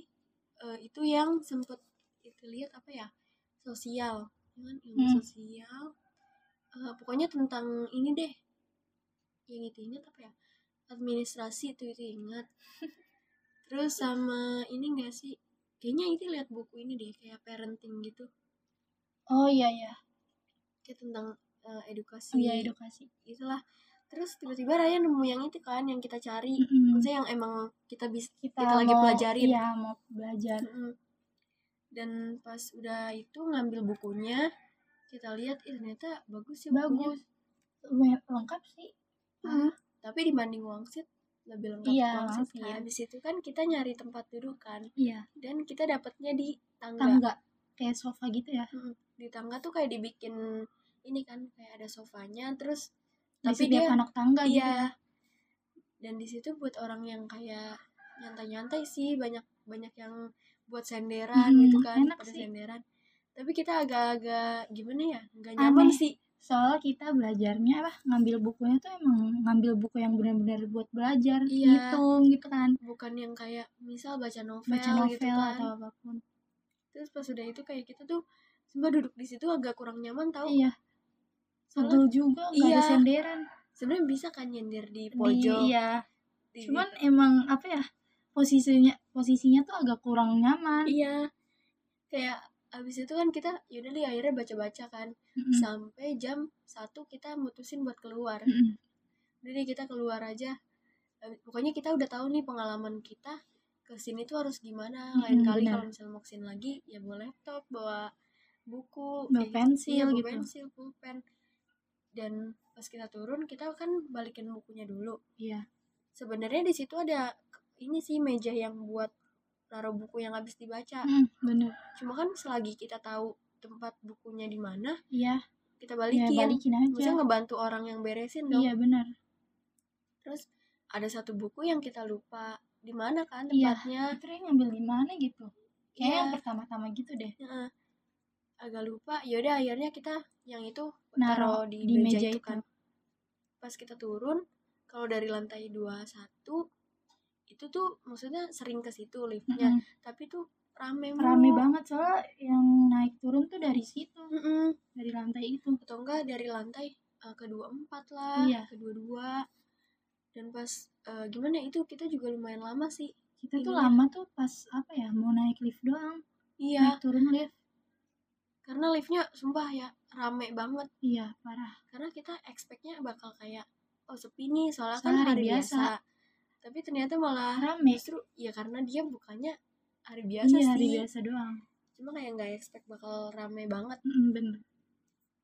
A: Eh, itu yang sempet itu lihat apa ya sosial ya kan ilmu
B: Hmm.
A: sosial Eh, pokoknya tentang ini deh yang itu ingat apa ya administrasi itu itu ingat terus sama ini enggak sih kayaknya itu lihat buku ini deh kayak parenting gitu
B: oh iya iya
A: kayak tentang eh, edukasi
B: oh, iya edukasi
A: itulah terus tiba-tiba Raya nemu yang itu kan yang kita cari
B: Mm-mm.
A: maksudnya yang emang kita bisa kita, lagi
B: mau-
A: pelajarin
B: iya mau belajar
A: Mm-mm. dan pas udah itu ngambil bukunya kita lihat ih ternyata bagus ya bukunya
B: bagus Lumayan lengkap sih
A: Mm. tapi dibanding wangsit lebih lengkap konsep
B: Iya, banget
A: kan.
B: kan.
A: Habis itu kan kita nyari tempat duduk kan
B: iya
A: dan kita dapatnya di tangga.
B: tangga kayak sofa gitu ya
A: Di tangga tuh kayak dibikin ini kan kayak ada sofanya terus
B: Di
A: Tapi
B: setiap
A: dia-
B: anak tangga gitu ya.
A: iya. Dan di situ buat orang yang kayak nyantai-nyantai sih banyak banyak yang buat senderan
B: Hmm,
A: gitu kan,
B: enak
A: pada
B: sih.
A: senderan. Tapi kita agak-agak gimana ya? nggak nyaman
B: Aneh.
A: sih.
B: soal kita belajarnya apa ngambil bukunya tuh emang ngambil buku yang benar-benar buat belajar
A: Iya.
B: ngitung gitu kan
A: Bukan yang kayak misal baca novel,
B: baca novel
A: gitu kan.
B: atau apapun
A: Terus pas udah itu kayak kita tuh sempat duduk di situ agak kurang nyaman tau.
B: iya
A: Oh, Soalnya
B: pegel juga nggak
A: Iya.
B: ada senderan
A: sebenarnya bisa kan nyender di
B: Di-
A: pojok.
B: iya
A: di-
B: cuman emang apa ya posisinya posisinya tuh agak kurang nyaman
A: iya. Kayak abis itu kan kita yaudah deh akhirnya baca-baca kan
B: Mm-mm.
A: sampai jam satu kita mutusin buat keluar.
B: Mm-mm.
A: Jadi kita keluar aja. Eh, Pokoknya kita udah tahu nih pengalaman kita ke sini tuh harus gimana. Lain
B: Mm-mm,
A: kali
B: benar.
A: kalau misalnya mau kesini lagi ya bawa laptop, bawa buku,
B: Bawa
A: kayak gitu.
B: pensil
A: Iya, bawa
B: gitu.
A: pensil, pulpen. Dan pas kita turun kita kan balikin bukunya dulu.
B: iya
A: Sebenarnya di situ ada ke- ini sih meja yang buat naruh buku yang habis dibaca.
B: Mm, bener
A: Cuma kan selagi kita tahu tempat bukunya di mana,
B: iya
A: kita
B: ya
A: balikin.
B: balikin aja
A: Bisa ngebantu orang yang beresin dong.
B: iya benar
A: terus ada satu buku yang kita lupa di mana kan
B: Iya.
A: tempatnya
B: itu dia ngambil di mana gitu kayak
A: Iya.
B: yang pertama-tama gitu deh
A: Heeh. agak lupa yaudah akhirnya kita yang itu taruh
B: Naruh
A: di,
B: di
A: meja,
B: meja
A: itu
B: itu.
A: kan pas kita turun kalau dari lantai 21 itu tuh maksudnya sering ke situ liftnya
B: Mm-mm.
A: tapi tuh rame
B: rame
A: mulu.
B: banget soalnya yang naik turun tuh dari situ
A: Mm-mm.
B: dari lantai itu
A: atau enggak dari lantai eh, kedua empat lah
B: Iya.
A: kedua dua dan pas eh, gimana itu kita juga lumayan lama sih
B: kita tuh
A: Ininya.
B: lama tuh pas apa ya mau naik lift doang
A: iya
B: naik turun lift
A: karena liftnya sumpah ya rame banget
B: iya parah
A: karena kita expectnya bakal kayak oh sepi nih soalnya kan
B: Soalnya
A: hari
B: hari
A: biasa.
B: biasa.
A: tapi ternyata malah
B: rame
A: justru ya karena dia bukannya hari biasa
B: iya
A: sih
B: hari biasa doang
A: cuma kayak nggak expect bakal rame banget
B: Mm, bener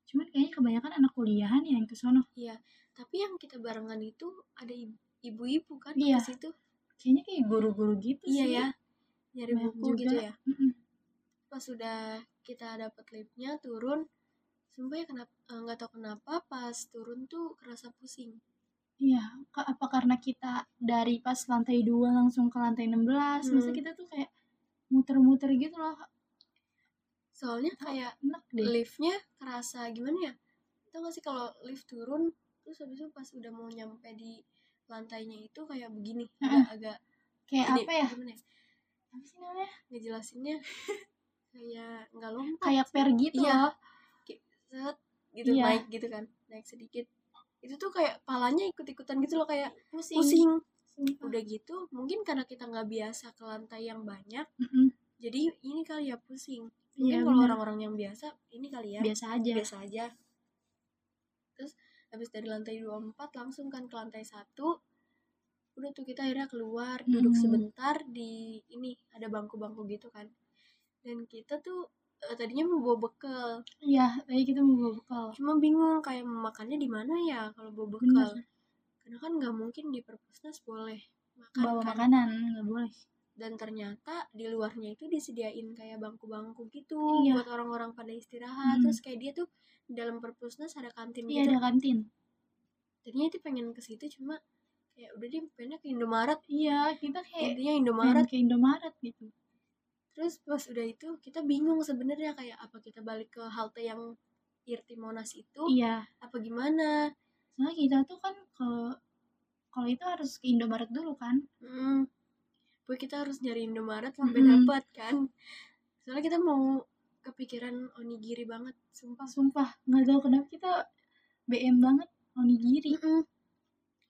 B: cuman kayaknya kebanyakan anak kuliahan ya yang kesono
A: tapi yang kita barengan itu ada i- ibu-ibu kan
B: Iya.
A: ke situ
B: kayaknya kayak guru-guru gitu
A: iya
B: sih
A: ya nyari
B: Banyak
A: buku gitu
B: juga.
A: ya
B: Mm-mm.
A: pas sudah kita dapet liftnya turun sumpah ya kenapa eh, nggak tahu kenapa pas turun tuh kerasa pusing
B: iya Ka- apa karena kita dari pas lantai 2 langsung ke lantai 16 belas terus
A: Hmm.
B: kita tuh kayak muter-muter gitu loh
A: soalnya kayak
B: enak deh
A: liftnya kerasa gimana ya tau gak sih kalau lift turun terus habis itu pas udah mau nyampe di lantainya itu kayak begini agak agak
B: kayak
A: ini,
B: apa ya
A: gimana ya
B: apa sih namanya
A: ngejelasinnya kayak nggak lompat
B: kayak per gitu
A: Iya.
B: loh
A: kayak set gitu
B: Iya.
A: naik gitu kan naik sedikit itu tuh kayak palanya ikut ikutan gitu loh kayak
B: pusing, Ah.
A: pusing
B: Sumpah.
A: udah gitu mungkin karena kita nggak biasa ke lantai yang banyak
B: Mm-mm.
A: jadi ini kali ya pusing
B: Iya,
A: mungkin kalau
B: bener.
A: orang-orang yang biasa ini kali ya
B: biasa aja
A: biasa aja terus habis dari lantai 24 langsung kan ke lantai satu udah tuh kita akhirnya keluar duduk
B: Hmm.
A: sebentar di ini ada bangku-bangku gitu kan dan kita tuh eh, tadinya mau bawa bekal
B: iya tadi kita mau bawa bekal
A: cuma bingung kayak mau makannya di mana ya kalau bawa bekal
B: bener
A: karena kan nggak mungkin di perpusnas boleh makan
B: bawa
A: kan.
B: makanan nggak boleh
A: dan ternyata di luarnya itu disediain kayak bangku-bangku gitu
B: Iya.
A: buat orang-orang pada istirahat
B: Mm.
A: terus kayak dia tuh di dalam perpusnas ada kantin
B: iya
A: gitu
B: ada kantin
A: tadinya dia pengen ke situ cuma kayak udah deh pengennya ke Indomaret
B: iya Hmm. kita kayak
A: intinya
B: pengen
A: Indomaret
B: ke Indomaret gitu
A: terus pas udah itu kita bingung sebenarnya kayak apa kita balik ke halte yang Irti Monas itu
B: iya
A: apa gimana
B: soalnya kita tuh kan ke kalau itu harus ke Indomaret dulu kan
A: hmm. Pokoknya kita harus nyari Indomaret sampai
B: Mm-mm.
A: dapat kan soalnya kita mau kepikiran onigiri banget sumpah
B: sumpah nggak tahu kenapa kita BM banget onigiri
A: Mm-mm.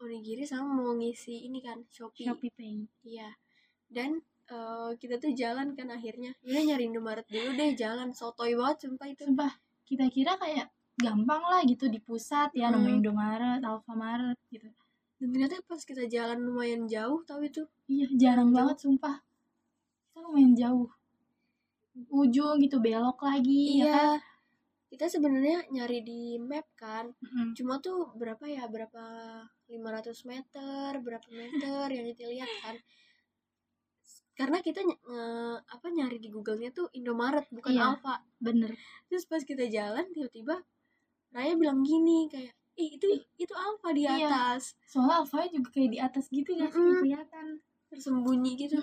A: onigiri sama mau ngisi ini kan Shopee,
B: Shopee Pay
A: iya dan eh, kita tuh jalan kan akhirnya udah nyari Indomaret dulu deh jalan sotoy banget sumpah itu
B: sumpah kita kira kayak gampang lah gitu di pusat ya
A: Hmm.
B: namanya Indomaret Alfamaret gitu
A: dan ternyata pas kita jalan lumayan jauh tau itu
B: iya jarang
A: Jauh.
B: banget sumpah kita lumayan jauh ujung gitu belok lagi ya kan
A: Iya. Kita sebenarnya nyari di map kan.
B: Mm-mm.
A: Cuma tuh berapa ya? Berapa 500 meter berapa meter yang itu lihat kan karena kita ny- nge- apa nyari di Google-nya tuh Indomaret bukan
B: Iya.
A: Alfa
B: bener
A: terus pas kita jalan tiba-tiba Raya bilang gini kayak ih itu itu Alfa di
B: Iya.
A: atas
B: soalnya alfa juga kayak di atas gitu gak sih
A: Mm-mm.
B: kelihatan
A: tersembunyi gitu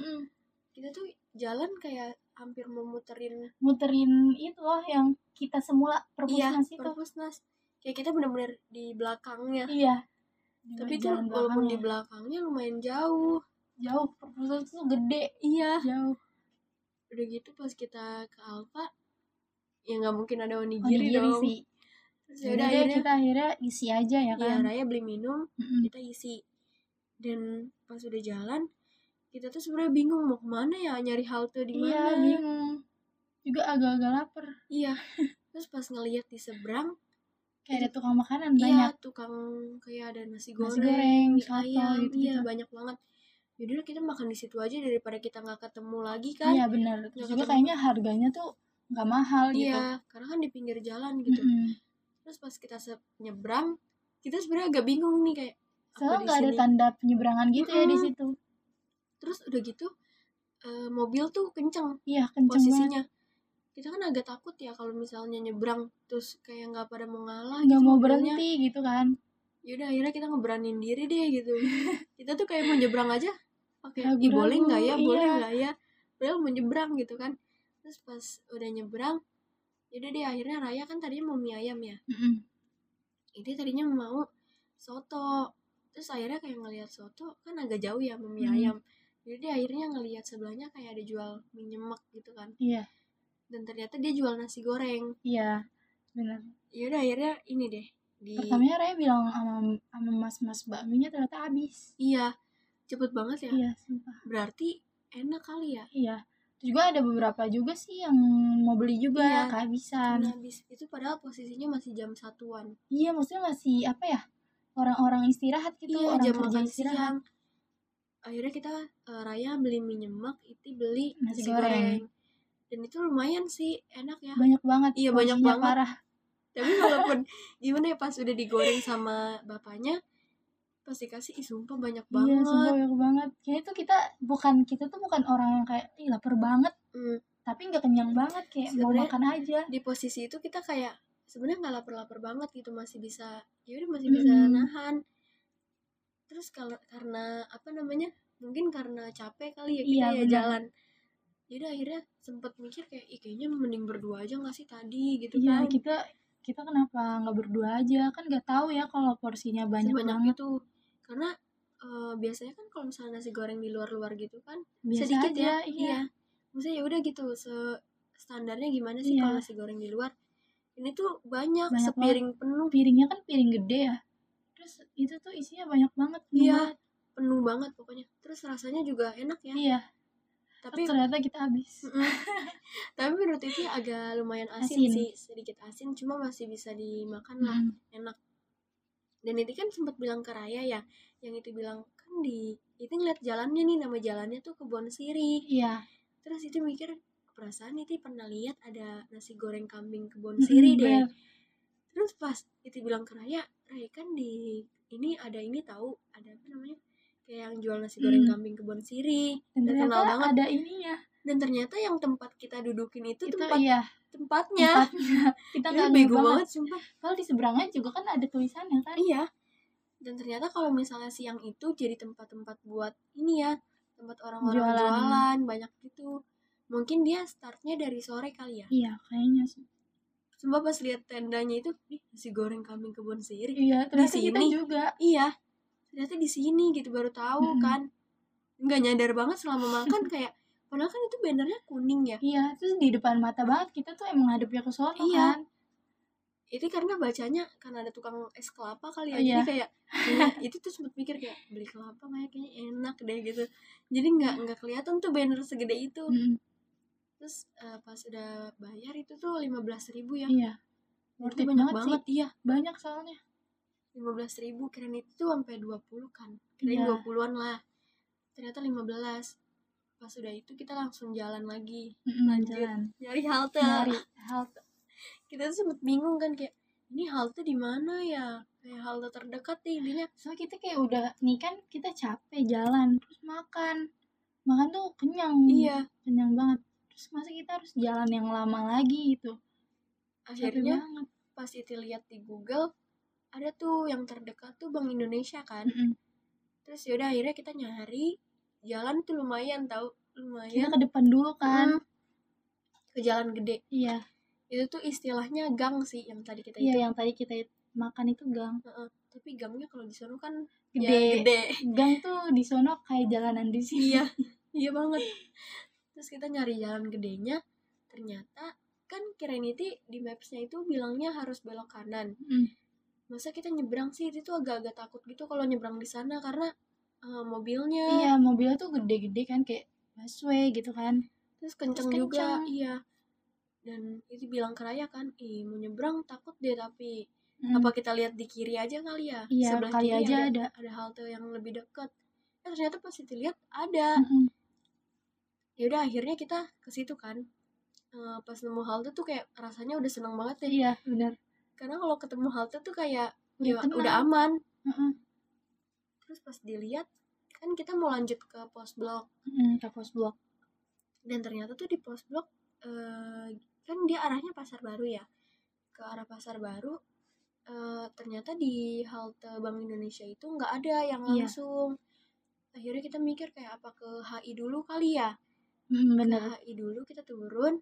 A: kita tuh jalan kayak hampir memuterin
B: muterin itu loh yang kita semula
A: Iya,
B: perpusnas itu
A: perpusnas kayak kita bener-bener di belakangnya
B: iya
A: tapi itu
B: Jalan
A: walaupun di
B: belakangnya.
A: belakangnya lumayan jauh
B: jauh perpusnas itu gede
A: iya
B: jauh
A: udah gitu pas kita ke Alfa ya nggak mungkin ada onigiri,
B: onigiri
A: dong
B: sih
A: terus ya udah
B: Yaudah deh,
A: akhirnya
B: kita akhirnya isi aja ya
A: iya,
B: kan
A: Raya beli minum
B: Mm-mm.
A: kita isi dan pas udah jalan kita tuh sebenarnya bingung mau kemana ya nyari halte di
B: iya
A: mana
B: bingung juga agak-agak lapar
A: iya terus pas ngeliat di seberang
B: kayak ada tukang makanan
A: iya
B: banyak
A: tukang kayak ada nasi goreng,
B: Nasi goreng,
A: mie
B: soto,
A: ayam iya
B: gitu-gitu.
A: banyak banget jadi kita makan di situ aja daripada kita nggak ketemu lagi kan
B: iya benar
A: Nggak
B: terus juga
A: ketemu.
B: kayaknya harganya tuh nggak mahal gitu
A: Iya, karena kan di pinggir jalan gitu
B: Mm-mm.
A: terus pas kita se- nyebrang kita sebenarnya agak bingung nih kayak apa
B: soalnya
A: di
B: nggak ada
A: sini?
B: tanda penyeberangan gitu ya di
A: Mm-mm.
B: situ
A: terus udah gitu eh, mobil tuh kenceng
B: iya kenceng banget
A: posisinya kita kan agak takut ya kalau misalnya nyebrang terus kayak nggak pada mau ngalah
B: Ah, nggak
A: gitu
B: mau
A: mobilnya.
B: berhenti gitu kan
A: yaudah Ya akhirnya kita ngeberanin diri deh gitu kita tuh kayak mau nyebrang aja pakai
B: Ragu-ragu,
A: "Ih, boleh nggak ya boleh
B: iya.
A: nggak ya padahal mau nyebrang gitu kan terus pas udah nyebrang yaudah deh akhirnya Raya kan tadinya mau mie ayam ya
B: Mm-mm.
A: itu tadinya mau soto terus akhirnya kayak ngelihat soto kan agak jauh ya sama mie
B: Hmm.
A: ayam jadi dia akhirnya ngelihat sebelahnya kayak ada jual mie nyemek gitu kan
B: iya
A: dan ternyata dia jual nasi goreng
B: iya benar
A: ya udah akhirnya ini deh di
B: pertamanya Raya bilang sama sama mas-mas bakminya ternyata habis
A: iya cepet banget ya
B: iya sumpah
A: berarti enak kali ya
B: iya terus juga ada beberapa juga sih yang mau beli juga
A: Iya.
B: kehabisan
A: Karena habis itu padahal posisinya masih jam satuan
B: iya maksudnya masih apa ya orang-orang istirahat gitu
A: iya
B: orang
A: jam
B: kerja
A: makan
B: istirahat
A: siang akhirnya kita eh, Raya beli mie nyemek itu beli
B: Nasi
A: nasi
B: goreng.
A: goreng dan itu lumayan sih enak ya
B: banyak banget
A: Iya, banyak
B: porsinya
A: banget.
B: parah
A: tapi walaupun gimana ya pas udah digoreng sama bapaknya pas dikasih ih sumpah banyak
B: iya
A: banget
B: sumpah banyak banget kayak itu kita bukan kita tuh bukan orang yang kayak Ih, lapar banget
A: Mm.
B: tapi nggak kenyang banget kayak mau
A: Sebenarnya-
B: makan aja
A: di posisi itu kita kayak sebenarnya nggak lapar-lapar banget gitu masih bisa ya udah masih bisa
B: Mm-mm.
A: nahan terus kalau karena apa namanya mungkin karena capek kali ya kita
B: Iya,
A: ya
B: benar.
A: jalan jadi akhirnya sempet mikir kayak Ih, kayaknya mending berdua aja nggak sih tadi gitu
B: iya
A: kan
B: kita kita kenapa nggak berdua aja kan nggak tahu ya kalau porsinya banyak
A: Sebanyak
B: banget
A: itu karena eh, biasanya kan kalau misalnya nasi goreng di luar-luar gitu kan
B: biasa
A: sedikit
B: aja
A: ya
B: iya
A: iya maksudnya ya udah gitu se standarnya gimana sih
B: Iya.
A: kalau nasi goreng di luar ini tuh banyak,
B: Banyak
A: sepiring penuh
B: piringnya kan piring gede ya terus itu tuh isinya banyak banget penuh
A: Iya.
B: banget.
A: penuh banget pokoknya terus rasanya juga enak ya
B: iya
A: tapi
B: terus ternyata kita habis
A: Mm-mm. tapi menurut itu agak lumayan asin,
B: Asin.
A: sih sedikit asin cuma masih bisa dimakan lah
B: Mm.
A: enak
B: Mm-hmm.
A: dan itu kan sempat bilang ke Raya ya yang itu bilang kan di itu ngeliat jalannya nih nama jalannya tuh kebon siri
B: iya
A: terus itu mikir perasaan itu pernah lihat ada nasi goreng kambing kebon
B: Mm-mm,
A: siri deh
B: bener.
A: terus pas itu bilang ke Raya Raya kan di ini ada ini tahu ada apa namanya kayak yang jual nasi goreng
B: Hmm.
A: kambing kebon siri
B: dan ternyata
A: terkenal banget
B: ada ininya
A: dan ternyata yang tempat kita dudukin itu,
B: itu
A: tempat
B: iya
A: tempatnya
B: tempatnya. kita
A: Itu
B: nggak
A: bego
B: ngeh
A: banget sumpah
B: Kalau di seberangnya juga kan ada tulisannya kan?
A: iya dan ternyata kalau misalnya siang itu jadi tempat-tempat buat ini ya tempat orang-orang
B: Jualan.
A: jualan. banyak gitu mungkin dia startnya dari sore kali ya
B: Iya, kayaknya sih.
A: sumpah pas lihat tendanya itu ih nasi goreng kambing kebun siri
B: Iya, ternyata
A: sini.
B: kita juga.
A: iya ternyata di sini gitu baru tahu
B: Mm-mm.
A: kan nggak nyadar banget selama makan kayak padahal kan itu bannernya kuning ya
B: Iya, terus di depan mata banget kita tuh emang ngadepnya ke sono
A: Iya.
B: kan?
A: itu karena bacanya karena ada tukang es kelapa kali ya
B: Oh,
A: jadi
B: iya.
A: kayak kayaknya itu tuh sempet mikir kayak beli kelapa nggak ya? kayaknya enak deh gitu jadi nggak nggak kelihatan tuh banner segede itu
B: Mm-mm.
A: terus eh, pas udah bayar itu tuh lima belas ribu ya
B: Iya.
A: Itu
B: Worth it
A: banyak
B: banget,
A: banget iya
B: Banyak soalnya.
A: lima belas ribu keren itu tuh sampai 20 kan keren
B: Iya.
A: dua an lah ternyata 15 pas udah itu kita langsung jalan lagi
B: Mm-mm,
A: Lanjut.
B: jalan.
A: nyari halte
B: Nyari halte.
A: kita tuh sempet bingung kan kayak ini halte di mana ya kayak halte terdekat deh intinya
B: so kita kayak udah nih kan kita capek jalan terus makan makan tuh kenyang
A: iya
B: kenyang banget terus masa kita harus jalan yang lama lagi gitu Capek
A: akhirnya
B: banget
A: pas itu lihat di Google ada tuh yang terdekat tuh Bank Indonesia kan
B: Mm-mm.
A: terus yaudah akhirnya kita nyari jalan tuh lumayan tau
B: kita
A: lumayan
B: ke depan dulu kan
A: kan ke jalan gede
B: iya
A: itu tuh istilahnya gang sih yang tadi kita itu
B: iya yang tadi kita makan itu gang
A: tapi gangnya kalau di sono kan ya,
B: gede,
A: gede.
B: gang tuh di sono kayak jalanan di sini
A: iya iya banget terus kita nyari jalan gedenya ternyata kan kirain itu di mapsnya itu bilangnya harus belok kanan
B: Mm.
A: masa kita nyebrang sih itu tuh agak-agak takut gitu kalau nyebrang di sana karena eh, mobilnya
B: iya mobilnya tuh gede-gede kan kayak busway gitu kan
A: terus kenceng
B: Terus
A: juga
B: kenceng.
A: iya dan itu bilang ke Raya kan ih mau nyebrang takut deh tapi
B: Mm.
A: apa kita lihat di kiri aja kali ya
B: iya
A: sebelah
B: kali
A: kiri
B: aja
A: ada,
B: ada,
A: ada halte yang lebih dekat eh ternyata pas itu lihat ada
B: Mm-mm.
A: ya udah akhirnya kita ke situ kan Eh, pas nemu halte tuh kayak rasanya udah seneng banget deh
B: iya benar
A: karena kalau ketemu halte tuh kayak
B: Udah
A: ya,
B: tenang.
A: udah aman
B: Mm-mm.
A: terus pas dilihat kan kita mau lanjut ke pos blok
B: Mm, ke pos blok
A: dan ternyata tuh di pos blok eh, kan dia arahnya pasar baru ya ke arah pasar baru eh, ternyata di halte Bank Indonesia itu nggak ada yang
B: Iya.
A: langsung akhirnya kita mikir kayak apa ke HI dulu kali ya ke
B: Mm, benar
A: HI dulu kita turun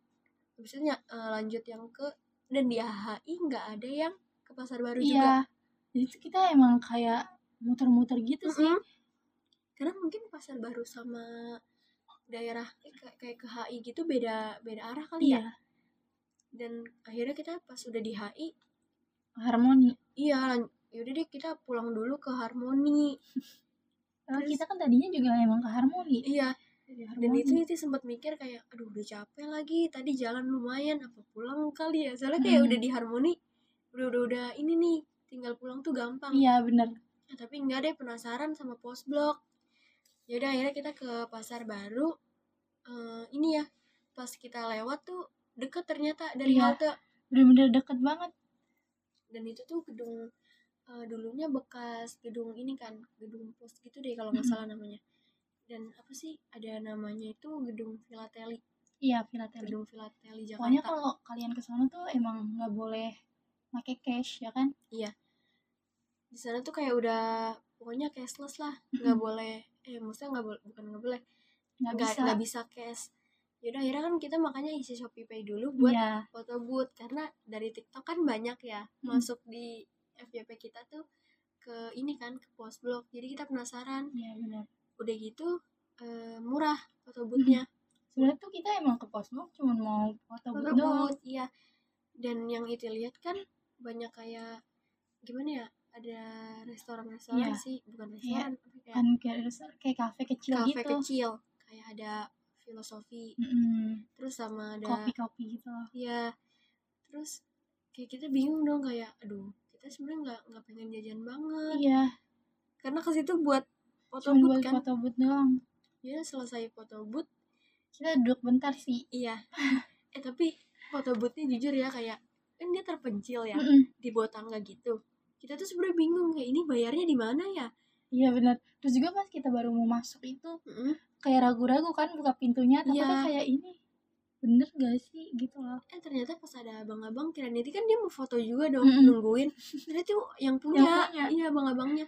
A: habis itu nya- eh, lanjut yang ke dan di HI nggak ada yang ke pasar baru juga
B: iya jadi tuh kita emang kayak muter-muter gitu sih
A: Mm-mm. karena mungkin pasar baru sama daerah eh, kayak, kayak ke HI gitu beda beda arah kali ya
B: iya
A: dan akhirnya kita pas udah di HI
B: harmoni
A: iya lan- yaudah deh kita pulang dulu ke Harmoni
B: Padahal
A: Terus-
B: kita kan tadinya juga emang ke harmoni
A: iya
B: Dari
A: dan
B: harmoni.
A: itu itu sempat mikir kayak aduh udah capek lagi tadi jalan lumayan apa pulang kali ya soalnya kayak
B: Hmm.
A: udah di Harmoni udah udah udah ini nih tinggal pulang tuh gampang
B: iya benar
A: Nah, tapi enggak deh penasaran sama post blok. Yaudah akhirnya kita ke pasar baru. Eh, ini ya, pas kita lewat tuh deket ternyata dari
B: Iya.
A: halte.
B: bener-bener deket banget
A: Dan itu tuh gedung eh, dulunya bekas gedung ini kan, gedung pos gitu deh kalau nggak
B: Mm-mm.
A: salah namanya. Dan apa sih ada namanya itu gedung Filateli,
B: iya filateli
A: gedung Filateli Jakarta.
B: pokoknya kalau kalian ke sana tuh emang nggak boleh pakai cash ya kan
A: Di sana tuh kayak udah pokoknya cashless lah,
B: Mm-mm.
A: nggak boleh. Eh maksudnya nggak boleh, bukan nggak boleh,
B: Mm. nggak
A: nggak
B: bisa
A: nggak bisa cash. Yaudah akhirnya kan kita makanya isi Shopee Pay dulu buat
B: iya
A: foto booth karena dari TikTok kan banyak ya
B: Hmm.
A: masuk di FYP kita tuh ke ini kan ke post blog jadi kita penasaran
B: iya benar
A: udah gitu eh, murah foto boothnya
B: sebenarnya tuh kita emang ke pos blok cuma mau
A: foto
B: foto booth doang
A: booth iya dan yang itu lihat kan banyak kayak gimana ya ada restoran-restoran
B: Iya.
A: sih bukan restoran apa kayak
B: kan kayak resort, kayak kafe kecil
A: ya. kafe
B: gitu
A: kecil kayak ada filosofi
B: Mm-mm.
A: terus sama ada
B: kopi-kopi gitu loh
A: ya terus kayak kita bingung dong kayak aduh kita sebenarnya nggak nggak pengen jajan banget
B: iya
A: karena ke situ buat foto
B: cuma
A: booth
B: buat
A: kan
B: foto booth doang
A: ya selesai foto booth
B: kita duduk bentar sih
A: iya eh tapi foto boothnya jujur ya kayak kan dia terpencil ya
B: Mm-mm.
A: di bawah tangga gitu kita tuh sebenarnya bingung kayak ini bayarnya di mana ya
B: iya benar terus juga pas kita baru mau masuk itu
A: Mm-mm.
B: kayak ragu-ragu kan buka pintunya
A: Iya.
B: takutnya kayak ini bener gak sih gitu loh
A: eh ternyata pas ada abang-abang kirain itu kan dia mau foto juga dong
B: Mm-mm.
A: nungguin ternyata tuh yang punya,
B: Yang punya.
A: iya abang-abangnya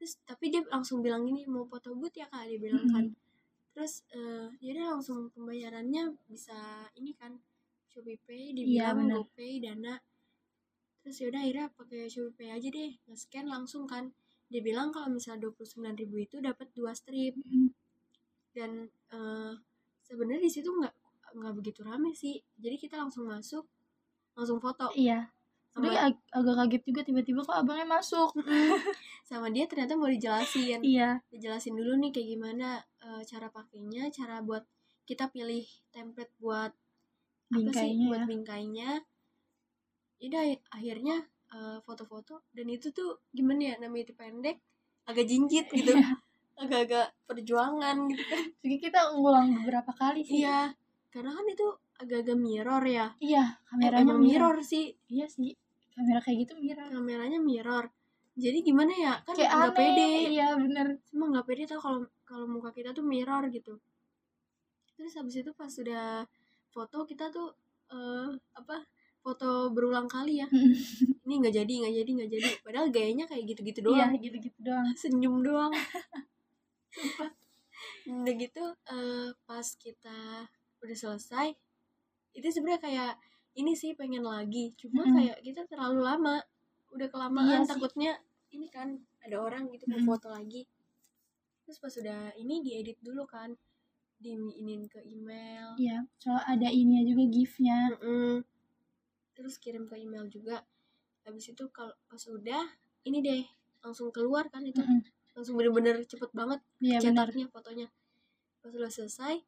A: terus tapi dia langsung bilang gini mau foto booth ya kak dia bilang kan
B: Mm-mm.
A: terus eh jadi langsung pembayarannya bisa ini kan Shopee Pay
B: Iya,
A: dibilang
B: benar.
A: GoPay Dana terus yaudah akhirnya pakai Shopee Pay aja deh nge-scan langsung kan dia bilang kalau misalnya 29.000 itu dapat dua strip
B: Mm-mm.
A: dan eh sebenarnya di situ nggak nggak begitu rame sih jadi kita langsung masuk langsung foto
B: iya tapi
A: sama,
B: ag- agak kaget juga tiba-tiba kok abangnya masuk
A: sama dia ternyata mau dijelasin
B: iya
A: dijelasin dulu nih kayak gimana eh, cara pakainya cara buat kita pilih template buat apa sih
B: bingkainya
A: buat
B: ya
A: bingkainya udah akhirnya eh, foto-foto dan itu tuh gimana ya namanya itu pendek agak jinjit
B: Iya.
A: gitu agak-agak perjuangan gitu kan
B: jadi kita ulang beberapa kali sih
A: iya karena kan itu agak-agak mirror ya
B: iya
A: Eh,
B: kameranya
A: emang mirror sih
B: iya sih kamera kayak gitu mirror
A: kameranya mirror jadi gimana ya kan
B: kayak
A: nggak
B: aneh
A: pede
B: iya bener
A: semua nggak pede tau kalau kalau muka kita tuh mirror gitu terus habis itu pas sudah foto kita tuh eh, apa foto berulang kali ya
B: Hmm.
A: ini nggak jadi nggak jadi nggak jadi padahal gayanya kayak gitu-gitu
B: iya
A: doang
B: gitu-gitu doang
A: senyum doang
B: Sumpah.
A: udah gitu eh, pas kita udah selesai itu sebenarnya kayak ini sih pengen lagi cuma
B: Mm-mm.
A: kayak kita terlalu lama udah kelamaan
B: Iya sih.
A: takutnya ini kan ada orang gitu mau
B: Mm-mm.
A: foto lagi terus pas udah ini diedit dulu kan diinin ke email
B: iya soal ada ininya juga gifnya
A: Mm-mm. terus kirim ke email juga habis itu kalau pas udah ini deh langsung keluar kan itu
B: Mm-mm.
A: langsung bener-bener cepet banget
B: iya bener
A: cetaknya fotonya pas udah selesai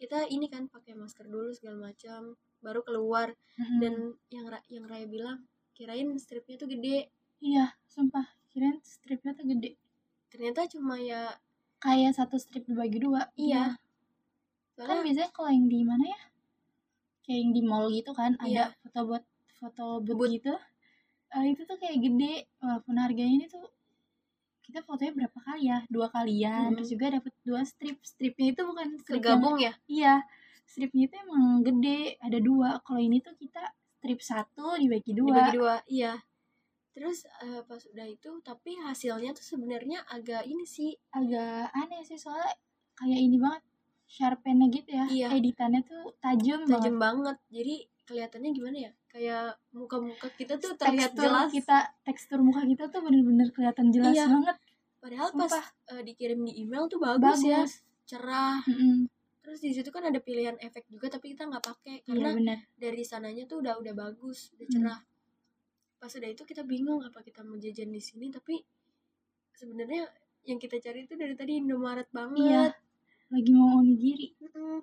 A: kita ini kan pakai masker dulu segala macam baru keluar
B: Mm-mm.
A: dan yang Ra- yang Raya bilang kirain stripnya tuh gede
B: iya sumpah kirain stripnya tuh gede
A: ternyata cuma ya
B: kayak satu strip dibagi dua
A: iya
B: kan
A: soalnya
B: biasanya kalau yang di mana ya kayak yang di mall gitu kan
A: Iya.
B: ada foto buat foto booth
A: Booth.
B: gitu Eh, itu tuh kayak gede walaupun harganya ini tuh kita fotonya berapa kali ya dua kalian
A: Mm-mm.
B: terus juga dapet dua strip stripnya itu bukan strip yang-
A: kegabung ya
B: iya stripnya itu emang gede ada dua kalau ini tuh kita strip satu dibagi dua
A: dibagi dua iya terus eh, pas udah itu tapi hasilnya tuh sebenarnya agak ini sih
B: agak aneh sih soalnya kayak ini banget sharpennya gitu ya
A: Iya.
B: editannya tuh tajam banget
A: tajam banget jadi kelihatannya gimana ya kayak muka-muka kita tuh terlihat
B: tekstur
A: jelas
B: kita tekstur muka kita tuh bener-bener kelihatan jelas
A: Iya,
B: banget
A: padahal pas
B: sumpah
A: eh, dikirim di email tuh bagus,
B: bagus,
A: ya cerah
B: Mm-mm.
A: terus di situ kan ada pilihan efek juga tapi kita nggak pakai
B: iya
A: karena
B: bener
A: dari sananya tuh udah udah bagus udah
B: Hmm.
A: cerah pas udah itu kita bingung apa kita mau jajan di sini tapi sebenarnya yang kita cari itu dari tadi Indomaret
B: iya
A: banget
B: lagi mau onigiri
A: Mm-mm.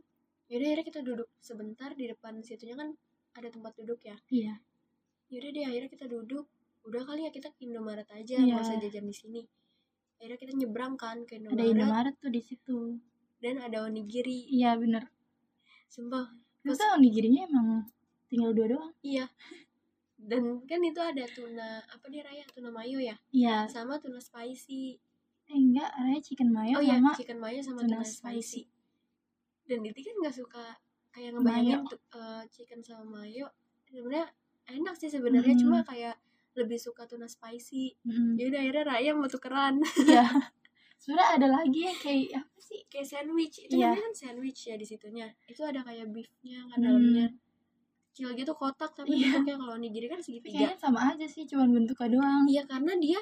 A: yaudah akhirnya kita duduk sebentar di depan situnya kan ada tempat duduk ya
B: iya
A: yaudah deh akhirnya kita duduk udah kali ya kita ke Indomaret aja
B: Iya.
A: nggak usah jajan di sini akhirnya kita nyebrang kan ke
B: ada
A: Indomaret,
B: Indomaret tuh di situ
A: dan ada onigiri
B: iya bener
A: sumpah
B: terus tuh onigirinya emang tinggal dua doang
A: iya dan kan itu ada tuna apa dia raya tuna mayo ya
B: iya
A: sama tuna spicy
B: eh, enggak ada chicken mayo
A: oh iya
B: sama
A: chicken mayo sama tuna,
B: tuna
A: spicy.
B: spicy.
A: dan Diti kan nggak suka kayak ngebayangin
B: Mayo.
A: tuh, eh, chicken sama mayo sebenarnya enak sih sebenarnya
B: Mm.
A: cuma kayak lebih suka tuna spicy
B: Mm-mm.
A: ya udah akhirnya Raya mau tukeran
B: iya sebenarnya ada lagi ya kayak apa sih
A: kayak sandwich itu
B: Iya.
A: namanya kan sandwich ya di situnya itu ada kayak beefnya kan
B: Hmm.
A: dalamnya kecil gitu kotak tapi
B: Iya.
A: bentuknya kalau onigiri kan segitiga
B: kayaknya sama aja sih cuman bentuknya doang
A: iya karena dia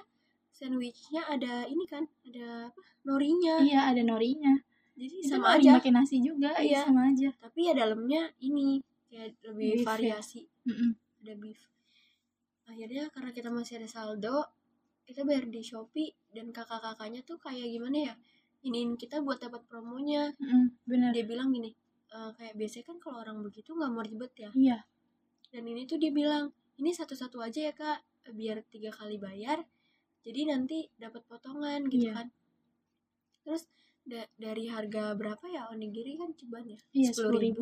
A: sandwichnya ada ini kan ada apa norinya
B: iya ada norinya
A: jadi
B: itu
A: Iya, sama
B: nori
A: aja
B: pakai nasi juga iya
A: Iya.
B: sama aja
A: tapi ya dalamnya ini kayak lebih
B: Beef ya.
A: variasi
B: Mm-mm.
A: ada beef akhirnya karena kita masih ada saldo kita bayar di shopee dan kakak-kakaknya tuh kayak gimana ya iniin kita buat dapat promonya
B: Mm-mm. bener
A: dia bilang gini e, kayak biasanya kan kalau orang begitu nggak mau ribet ya
B: iya
A: dan ini tuh dia bilang ini satu-satu aja ya kak biar tiga kali bayar jadi nanti dapat potongan gitu
B: Iya.
A: kan terus da- dari harga berapa ya onigiri kan cobaan ya
B: Iya,
A: 10.000.
B: 10.000.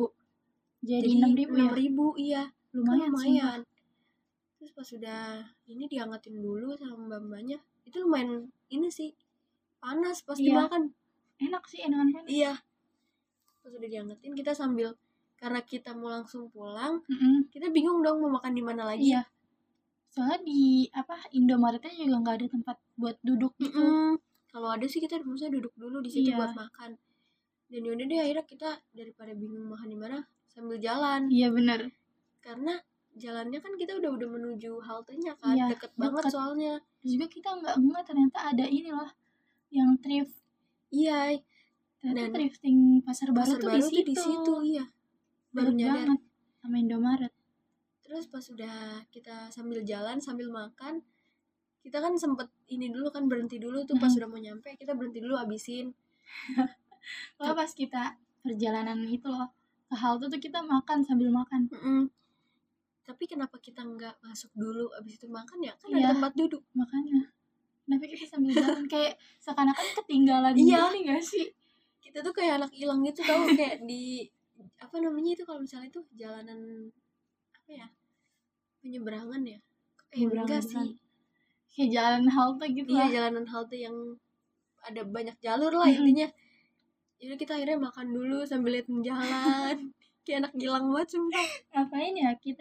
B: jadi
A: jadi
B: enam
A: enam
B: ribu
A: ribu,
B: ya
A: iya
B: lumayan,
A: Kan
B: sumpah.
A: lumayan. Terus pas sudah ini diangetin dulu sama mbak-mbaknya, itu lumayan ini sih panas pas
B: Iya.
A: dimakan.
B: enak sih enakan kan
A: Iya. Pas udah diangetin kita sambil karena kita mau langsung pulang,
B: Mm-mm.
A: kita bingung dong mau makan di mana lagi.
B: iya soalnya di apa Indomaretnya juga nggak ada tempat buat duduk gitu
A: Mm-mm. Kalau ada sih kita maksudnya duduk dulu di situ
B: Iya.
A: buat makan. Dan yaudah deh akhirnya kita daripada bingung makan di mana sambil jalan
B: iya bener
A: karena jalannya kan kita udah udah menuju haltenya kan
B: Iya,
A: deket banget
B: deket.
A: soalnya
B: terus juga kita nggak nggak ternyata ada ini loh yang thrift
A: iya
B: ternyata
A: Dan-
B: thrifting pasar baru
A: pasar
B: tuh
A: baru
B: di situ,
A: iya baru
B: baru
A: nyadar
B: banget sama Indomaret
A: terus pas sudah kita sambil jalan sambil makan kita kan sempet ini dulu kan berhenti dulu tuh pas
B: Mm-mm.
A: sudah mau nyampe kita berhenti dulu abisin
B: Soalnya pas kita perjalanan itu loh ke halte tuh kita makan sambil makan
A: Mm-mm. tapi kenapa kita nggak masuk dulu abis itu makan ya kan
B: Iya.
A: ada tempat duduk
B: makanya kenapa kita sambil jalan kayak seakan-akan ketinggalan
A: Iya.
B: gini gak sih
A: kita tuh kayak anak hilang gitu tau kayak di apa namanya itu kalau misalnya itu jalanan apa ya penyeberangan ya eh,
B: Nyebrang
A: enggak
B: jalan.
A: sih
B: kayak jalan halte gitu
A: iya
B: lah.
A: jalanan halte yang ada banyak jalur lah
B: Mhm.
A: intinya jadi kita akhirnya makan dulu sambil lihat jalan kayak anak gilang banget sumpah
B: ngapain ya kita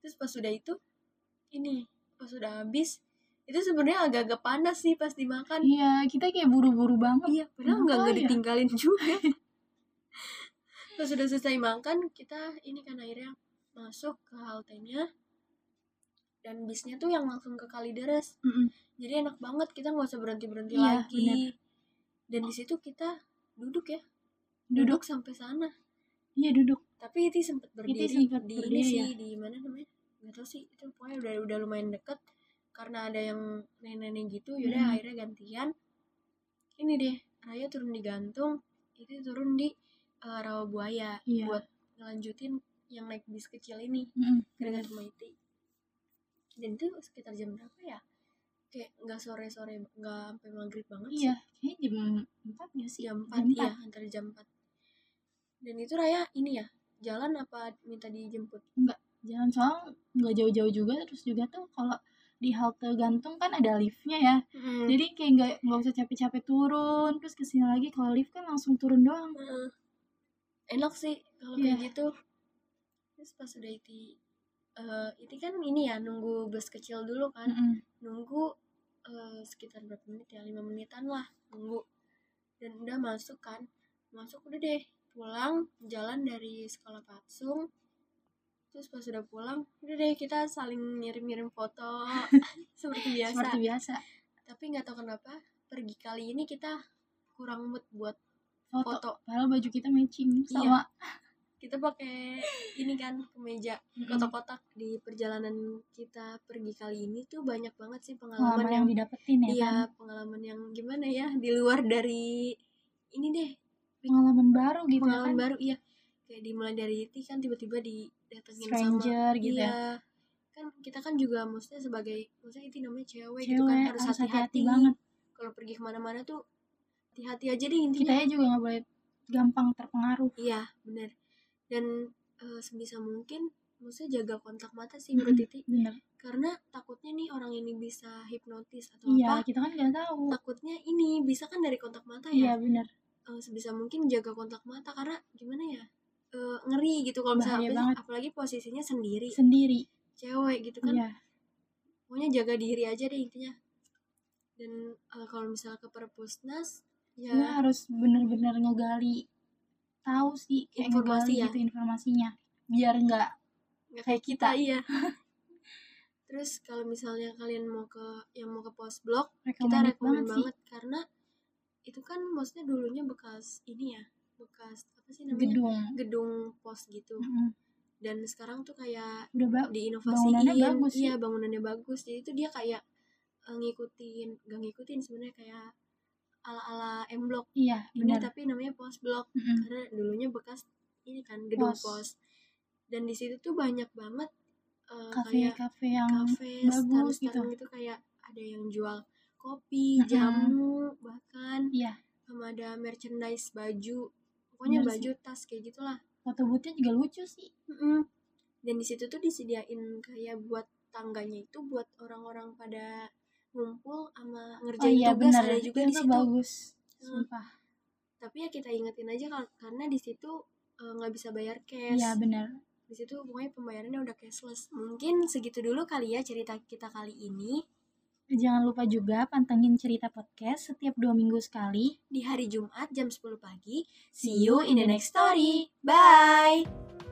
A: terus pas sudah itu ini pas sudah habis itu sebenarnya agak-agak panas sih pas dimakan
B: iya kita kayak buru-buru banget
A: iya padahal nggak nggak
B: Makanya.
A: ditinggalin juga pas sudah selesai makan kita ini kan akhirnya masuk ke haltenya dan bisnya tuh yang langsung ke Kalideres
B: Mm-mm.
A: jadi enak banget kita nggak usah berhenti berhenti
B: Iya,
A: lagi dan di situ kita duduk ya duduk
B: duduk
A: sampai sana
B: iya duduk
A: tapi itu sempet berdiri
B: sempet
A: di
B: berdiri
A: ini
B: ya?
A: sih di mana namanya nggak tahu sih itu pokoknya udah udah lumayan deket karena ada yang nenek-nenek gitu yaudah
B: Mm.
A: akhirnya gantian ini deh Raya turun di gantung itu turun di eh, rawa buaya
B: Iya.
A: buat ngelanjutin yang naik bis kecil ini
B: Mm-mm.
A: dengan
B: Hmm.
A: Maiti dan itu sekitar jam berapa ya kayak nggak sore sore nggak sampai maghrib banget sih.
B: iya kayaknya jam empat ya sih
A: jam 4, iya antara jam 4 dan itu Raya ini ya jalan apa minta dijemput
B: jalan soal nggak jauh-jauh juga terus juga tuh kalau di halte gantung kan ada liftnya ya
A: jadi
B: jadi kayak nggak nggak usah capek-capek turun terus kesini lagi kalau lift kan langsung turun doang
A: eh, enak sih kalau
B: Iya.
A: kayak gitu terus pas udah iti eh, iti kan ini ya nunggu bus kecil dulu kan
B: Mm-mm.
A: nunggu eh, sekitar berapa menit ya lima menitan lah nunggu dan udah masuk kan masuk udah deh pulang jalan dari sekolah Patsung terus pas udah pulang udah deh kita saling ngirim-ngirim foto seperti biasa
B: seperti biasa
A: tapi nggak tahu kenapa pergi kali ini kita kurang mood buat
B: foto,
A: foto
B: padahal baju kita matching
A: Iya.
B: sama
A: kita pakai ini kan kemeja
B: Mm-mm.
A: kotak-kotak di perjalanan kita pergi kali ini tuh banyak banget sih pengalaman,
B: pengalaman
A: yang
B: yang didapetin ya
A: iya
B: kan
A: pengalaman yang gimana ya di luar dari ini deh
B: pengalaman baru gitu ya
A: pengalaman
B: Gitu kan
A: baru iya kayak dimulai dari itu kan tiba-tiba didatengin sama
B: stranger gitu ya
A: iya kan kita kan juga maksudnya sebagai maksudnya itu namanya cewek, gitu
B: Cewek,
A: kan harus
B: harus hati-hati
A: hati-hati
B: banget.
A: kalau pergi kemana-mana tuh hati-hati aja deh
B: kita
A: intinya
B: ya juga nggak boleh gampang terpengaruh
A: iya bener dan eh, sebisa mungkin maksudnya jaga kontak mata sih
B: Mm-mm.
A: menurut Titi
B: bener
A: karena takutnya nih orang ini bisa hipnotis atau
B: iya
A: apa
B: kita kan nggak tahu
A: takutnya ini bisa kan dari kontak mata ya
B: iya bener
A: eh, sebisa mungkin jaga kontak mata karena gimana ya eh, ngeri gitu kalau misalnya
B: Bahaya
A: apalagi,
B: banget.
A: apalagi posisinya sendiri
B: sendiri
A: cewek gitu kan
B: iya
A: pokoknya jaga diri aja deh intinya dan eh, kalau misalnya ke perpusnas ya
B: Cuma harus bener-bener ngegali tahu sih kayak
A: Informasi
B: ngegali
A: ya?
B: gitu informasinya biar nggak
A: nggak
B: kayak
A: kita
B: kita
A: iya terus kalau misalnya kalian mau ke yang mau ke pos blok kita
B: recommended
A: rekomen
B: banget
A: banget,
B: sih
A: karena itu kan maksudnya dulunya bekas ini ya bekas apa sih namanya
B: gedung
A: gedung pos gitu
B: Mm-mm.
A: dan sekarang tuh kayak
B: udah ba-
A: diinovasiin
B: Bangunannya bagus sih.
A: iya bangunannya bagus jadi itu dia kayak eh, ngikutin gak ngikutin sebenarnya kayak ala ala M Block
B: iya
A: ini
B: bener
A: tapi namanya pos blok
B: Mm-mm.
A: karena dulunya bekas ini kan gedung
B: Pos.
A: pos, dan di situ tuh banyak banget eh, kayak
B: kafe-kafe yang
A: kafe
B: bagus
A: stand
B: gitu.
A: gitu kayak ada yang jual kopi
B: Mm-mm.
A: jamu bahkan
B: Iya.
A: sama ada merchandise baju pokoknya
B: Bener
A: baju tas kayak gitulah
B: foto boothnya juga lucu sih
A: Mm-mm. dan di situ tuh disediain kayak buat tangganya itu buat orang-orang pada ngumpul sama
B: oh
A: ngerjain
B: iya
A: tugas
B: bener
A: ada juga
B: Itu
A: di situ
B: bagus
A: Hmm.
B: sumpah
A: tapi ya kita ingetin aja kal- karena di situ eh, nggak bisa bayar cash
B: iya bener
A: di situ pokoknya pembayarannya udah cashless mungkin segitu dulu kali ya cerita kita kali ini
B: jangan lupa juga pantengin cerita podcast setiap dua minggu sekali
A: di hari Jumat jam 10 pagi see you in the next story bye